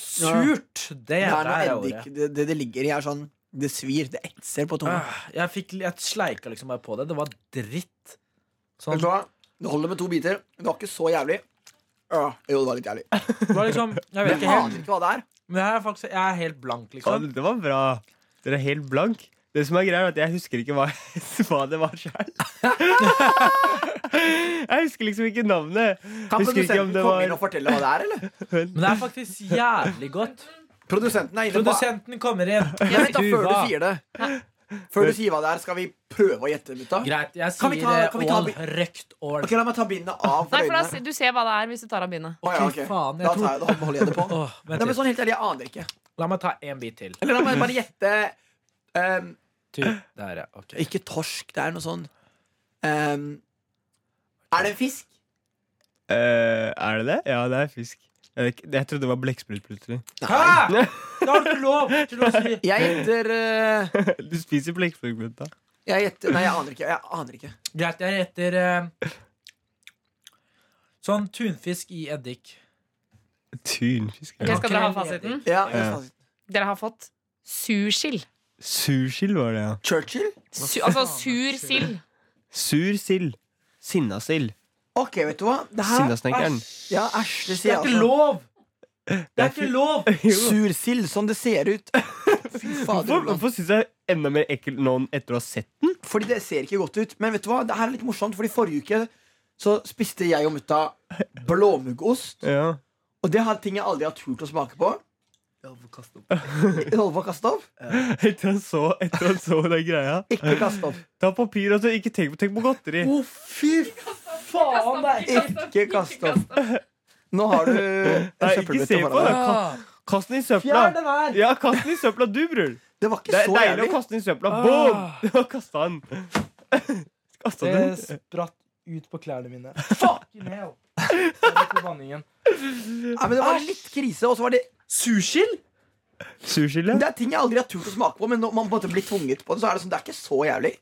S4: surt. Det
S3: Det
S4: er
S3: er
S4: det
S3: noe
S4: er
S3: eddik
S4: ordet.
S3: det, det, det ligger i er sånn Det svir, det etser på tunga.
S4: Ah, Jeg, fikk, jeg sleika liksom bare på det. Det var dritt. Sånn.
S3: Vet du hva? Det holder med to biter. Det var ikke så jævlig. Ja, jo, det var litt jævlig.
S4: Det var liksom, jeg
S3: Men
S4: vet
S3: jeg
S4: ikke helt.
S3: aner ikke hva det er.
S4: Men jeg er faktisk jeg er helt blank,
S2: Ja,
S4: liksom.
S2: dette var bra. Dere er helt blank. Det som er greia, er at jeg husker ikke hva, hva det var sjøl. Jeg husker liksom ikke navnet.
S3: Kan
S2: Husker ikke om
S3: produsenten
S2: det
S3: komme inn og
S2: var
S3: fortelle hva det er, eller?
S4: Men det er faktisk jævlig godt.
S3: Produsenten er inne på
S4: Produsenten kommer inn.
S3: Ja, Vent, da, før du
S4: Uva.
S3: sier det. Før du sier hva det er, skal vi prøve å gjette, gutta?
S4: Greit, jeg
S3: Kan vi
S4: sier
S3: ta-
S4: eh,
S3: kan vi ta
S4: all
S3: bi-
S4: røkt all.
S3: Ok, La meg ta bindet av for
S7: Nei, for da,
S3: øynene.
S7: se- du ser hva det er hvis du tar av bindet.
S3: Å, ja, ok.
S4: Fy faen, jeg
S3: Da
S4: tror-
S3: tar jeg det, holder jeg det på.
S4: Åh, vent
S3: Nei, men
S4: litt.
S3: sånn helt ærlig, jeg aner ikke.
S4: La meg ta en bit til.
S3: Eller la meg bare gjette ehm,
S4: Ty- Der, ja. ok.
S3: Ikke torsk, det er noe sånn ehm, Er det en fisk?
S2: Eh, Er det det? Ja, det er fisk. Jeg, vet ikke- jeg trodde det var blekksprut plutselig.
S4: Hæ?! Det har du ikke lov til å si!
S3: Jeg gjetter eh,
S2: Du spiser blekksprut, gutta.
S3: Jeg gjetter Nei, jeg aner ikke. Jeg aner ikke.
S4: Greit, jeg gjetter eh, sånn tunfisk i eddik.
S2: Tunfisk.
S7: Ok,
S2: Ja.
S7: skal dere ha fasiten?
S3: Ja, jeg skal
S2: Ja.
S3: si-
S7: Dere har fått sursild.
S2: Sursild var det, ja.
S3: Churchill?
S7: Su, altså sur sild.
S2: Sur sild. Sinnasild.
S3: Ok, vet du hva? Det her
S2: Sinnasnekkeren.
S3: Ja, æsj, det
S4: Det
S3: sier
S4: er ikke
S3: jeg altså.
S4: lov! Det er ikke lov!
S3: Sursild, som det ser ut. Fy fader.
S2: Hvorfor,
S3: mann.
S2: hvorfor syns jeg enda mer ekkel nå enn etter å ha sett den?
S3: Fordi det ser ikke godt ut. Men vet du hva, det her er litt morsomt, Fordi forrige uke så spiste jeg og mutta blåmuggost.
S2: Ja.
S3: Og det er ting jeg aldri har turt å smake på. Holde på å kaste opp?
S2: Etter han så, etter han så den greia.
S3: Ikke kaste opp.
S2: Ta papir, altså. Ikke tenk, på- tenk på godteri.
S3: Å, fy faen! Ikke kaste opp. Nå har du en
S2: Nei, ikke se
S3: søppelbøtte
S2: på
S3: foran
S2: det.
S3: deg.
S7: Ah.
S2: Kast den i
S3: Fjern
S2: søpla.
S3: den her!
S2: Ja, kast den i søpla, du, bror.
S3: Det var
S2: Det
S3: ikke
S2: er
S3: så
S2: deilig
S3: jævlig. Ah.
S2: å kaste den i søpla. Boom! Du har kasta den. Kasta
S4: Det
S2: den.
S4: spratt ut på klærne mine. Fucking hell! Jeg vet ikke banningen.
S3: Nei, men det var litt krise. Og så var det
S4: Sushil?
S2: Sursild,
S3: Det
S2: ja.
S3: er ting jeg aldri har turt å smake på, men når man på en måte blir tvunget på det, så er det sånn, det er ikke så jævlig.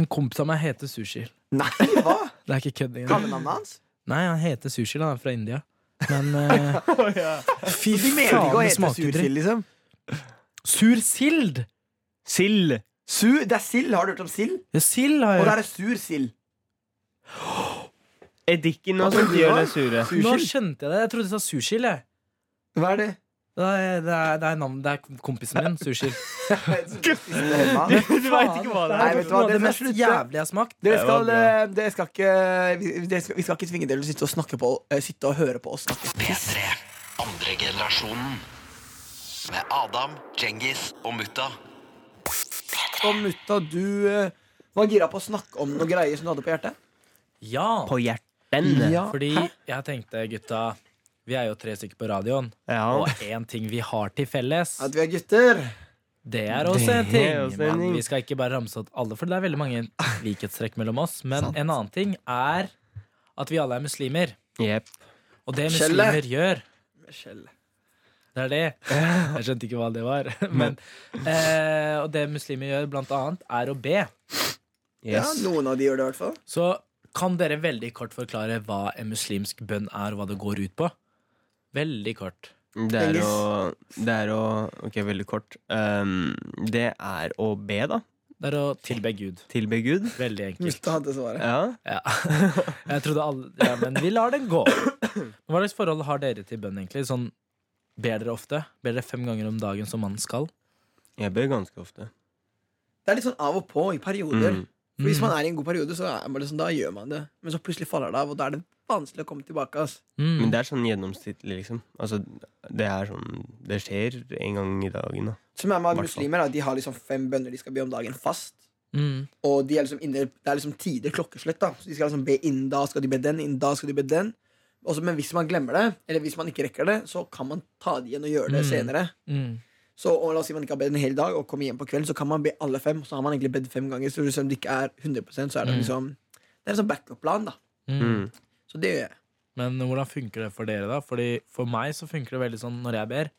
S4: En kompis av meg heter Sushil.
S3: Nei, hva?
S4: Det er ikke kødd engang.
S3: Kallenavnet hans?
S4: Nei, han heter Sushil. Han er fra India. Men eh,
S2: Å, ja.
S4: fy
S3: De mener ikke å
S4: det
S3: hete sursild, liksom.
S4: Sursild!
S2: Sild.
S3: Su, det er sild. Har du hørt om sild?
S4: Ja, sild har
S3: Og
S4: jeg
S3: da er det sur sild.
S2: Eddiken
S3: Hva
S2: og sånt
S3: trodde du
S2: altså, gjør
S3: da?
S2: det sure.
S4: Nå skjønte jeg det. Jeg trodde du sa sushil. jeg.
S3: Hva er det?
S4: Det er, det er, det er, navnet, det er kompisen min. Sushil.
S2: Du
S3: Dere
S2: veit ikke hva
S3: Nei,
S2: det er.
S3: vet du hva,
S4: Noe av
S3: dere
S4: det
S3: må
S4: mest
S3: slutte.
S4: jævlige jeg har smakt.
S3: skal,
S2: Det var
S3: eh, dere skal ikke vi, dere skal, vi skal ikke tvinge dere til å sitte og, snakke på, eh, sitte og høre på oss snakke.
S1: P3. Andre generasjonen. Med Adam, Djengis og Mutta.
S3: Og mutta, du eh, var gira på å snakke om noen greier som du hadde på hjertet?
S4: Ja,
S2: På hjerten.
S3: Ja.
S4: fordi jeg tenkte, gutta Vi er jo tre stykker på radioen.
S2: Ja.
S4: Og én ting vi har til felles,
S3: At vi er gutter?
S4: det er også en
S2: Det
S4: ting.
S2: er også en
S4: Men
S2: ting.
S4: vi skal ikke bare ramse opp alle, for det er veldig mange likhetstrekk mellom oss. Men en annen ting er at vi alle er muslimer.
S2: Jepp.
S4: Og det
S3: Kjelle.
S4: muslimer gjør Det er det. Jeg skjønte ikke hva det var. Men, eh, og det muslimer gjør, blant annet, er å be.
S3: Ja,
S2: Yes.
S3: noen av de gjør det i hvert fall.
S4: Så kan dere veldig kort forklare hva en muslimsk bønn er, og hva det går ut på? Veldig kort.
S2: Det er å Det er å Ok, veldig kort. Um, det er å be, da.
S4: Det er å tilbe Gud.
S2: Tilbe Gud.
S4: Veldig enkelt.
S3: Mutta hadde svaret.
S2: Ja.
S4: Ja. Jeg trodde alle Ja, men vi lar den gå. Men hva slags forhold har dere til bønn, egentlig? Sånn, ber dere ofte? Ber dere fem ganger om dagen som man skal?
S2: Jeg ber ganske ofte.
S3: Det er litt sånn av og på i perioder.
S2: Mm.
S3: For Hvis man er i en god periode, så er man det sånn, da gjør man det. Men så plutselig faller det av, og da er det vanskelig å komme tilbake. Ass.
S4: Mm.
S2: Men det er sånn gjennomsnittlig, liksom. Altså, det er sånn Det skjer en gang i dagen, da.
S3: Som er med at
S2: Hvertfall.
S3: muslimer, da, de har liksom fem bønner de skal be om dagen fast.
S4: Mm.
S3: Og de er liksom inne, det er liksom tider klokkeslett. da Så De skal liksom be inn da skal de be den, inn da skal de be den. Også, men hvis man glemmer det, eller hvis man ikke rekker det, så kan man ta det igjen og gjøre det
S4: Mm.
S3: senere.
S4: Mm.
S3: Så og La oss si man ikke har bedt en hel dag, og kommer hjem på kvelden, så kan man be alle fem. Så har man egentlig bedt fem ganger, så selv om det ikke er 100 så er det
S4: Mm.
S3: liksom Det er en sånn backup-plan, da.
S4: Mm.
S2: Mm.
S3: Så det gjør jeg.
S4: Men hvordan funker det for dere, da? Fordi For meg så funker det veldig sånn når jeg ber,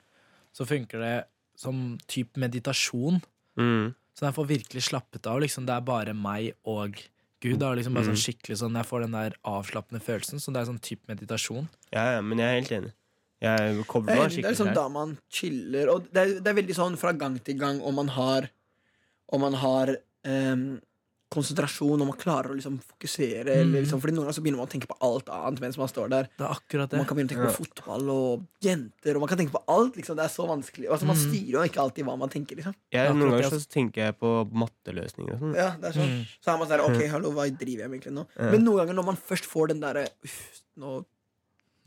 S4: så funker det som type meditasjon.
S2: Mm.
S4: Så jeg får virkelig slappet av. liksom Det er bare meg og Gud er liksom bare sånn skikkelig sånn Jeg får den der avslappende følelsen. Så det er sånn type meditasjon.
S2: Ja, ja, men jeg er helt enig. Jeg
S3: Det
S2: kobler
S3: er
S2: meg
S3: det er
S2: skikkelig
S3: liksom
S2: til
S3: da man chiller. Og det er, det er veldig sånn fra gang til gang om man har Om man har ehm, konsentrasjon, om man klarer å liksom fokusere. Eller liksom, fordi noen ganger så begynner man å tenke på alt annet mens man står der.
S4: Det er akkurat
S3: Og
S4: det.
S3: Man kan begynne å tenke på fotball og jenter, og man kan tenke på alt. liksom Det er så vanskelig. Altså Man styrer jo ikke alltid hva man tenker. liksom
S2: Jeg, noen
S4: Akkurat det,
S2: ganger så tenker jeg på matteløsninger og sånn.
S3: Ja, det er sånn
S4: Mm.
S3: Så er man sånn Ok, hallo, hva driver jeg med egentlig nå? Men noen ganger når man først får den derre uff, nå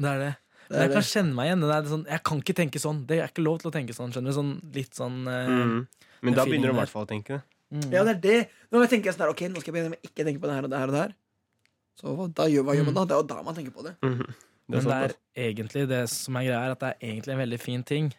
S4: Det er det.
S3: det er
S4: jeg
S3: det.
S4: kan kjenne meg igjen. Den er sånn, jeg kan ikke tenke sånn. Det er ikke lov til å tenke sånn. Skjønner du? Sånn litt sånn eh, mm.
S2: Mm. Men da
S4: Den
S2: begynner du i
S4: feelingen
S2: hvert fall å tenke det.
S3: Ja, det er det. Nå tenker jeg sånn her, ok, nå skal jeg begynne med ikke å tenke på det her og det her og det her. Så hva, da gjør, hva gjør
S4: Mm.
S3: man da? Det er jo da man tenker på det.
S2: Det er
S4: men det
S2: sant,
S4: er sånn egentlig det som er greia, er at det er egentlig en veldig fin ting.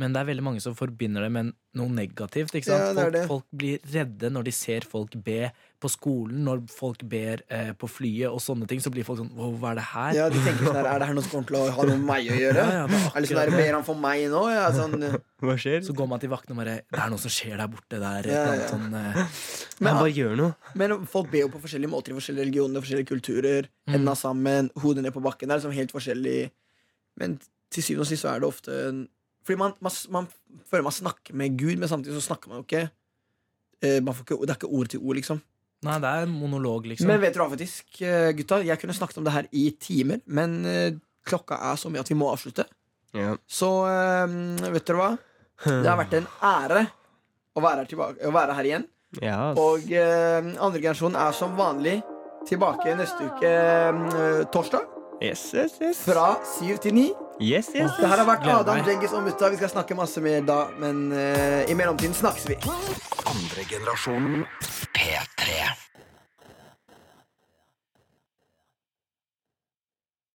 S4: Men det er veldig mange som forbinder det med noe negativt. Ikke sant?
S3: Ja, det er det.
S4: Folk, folk blir redde når de ser folk be på skolen, når folk ber eh, på flyet og sånne ting. Så blir folk sånn Wow, hva er det her?
S3: Ja, de tenker sånn her, Er det her noe som kommer til å ha noe med meg å gjøre?
S4: Ja, ja, det er akkurat
S3: Eller sånn her, Ber han for meg nå? Ja, sånn.
S2: altså. Hva skjer?
S4: Så går man til vaktene og bare Det er noe som skjer der borte. Det er et
S3: Ja,
S4: eller
S3: ja.
S4: annet sånn eh,
S2: Nei,
S3: Men,
S2: bare gjør noe.
S3: men folk ber jo på forskjellige måter i forskjellige religioner, forskjellige kulturer. Henda sammen, hodet ned på bakken. Det er liksom helt forskjellig. Men til syvende og sist så er det ofte en Fordi man, man, man føler man snakker med Gud, men samtidig så snakker man jo ikke. Eh, Man får ikke det er ikke ord til ord, liksom.
S4: Nei, det er en monolog, liksom.
S3: Men vet du hva, faktisk, eh, gutta? Jeg kunne snakket om det her i timer, men eh, klokka er så mye at vi må avslutte.
S2: Ja.
S3: Så eh, vet dere hva? Det har vært en ære å være her, tilbake, å være her igjen.
S2: Ja, ass.
S3: Og eh, andregenerasjonen er som vanlig tilbake neste uke eh, torsdag
S2: yes, yes, yes.
S3: fra syv til ni.
S2: Yes, yes.
S3: Det her har vært
S4: Gleder
S3: Adam,
S4: meg.
S3: Djengis og Mutta. Vi skal snakke masse mer da, men eh, i mellomtiden snakkes vi.
S1: Andre generasjonen P3.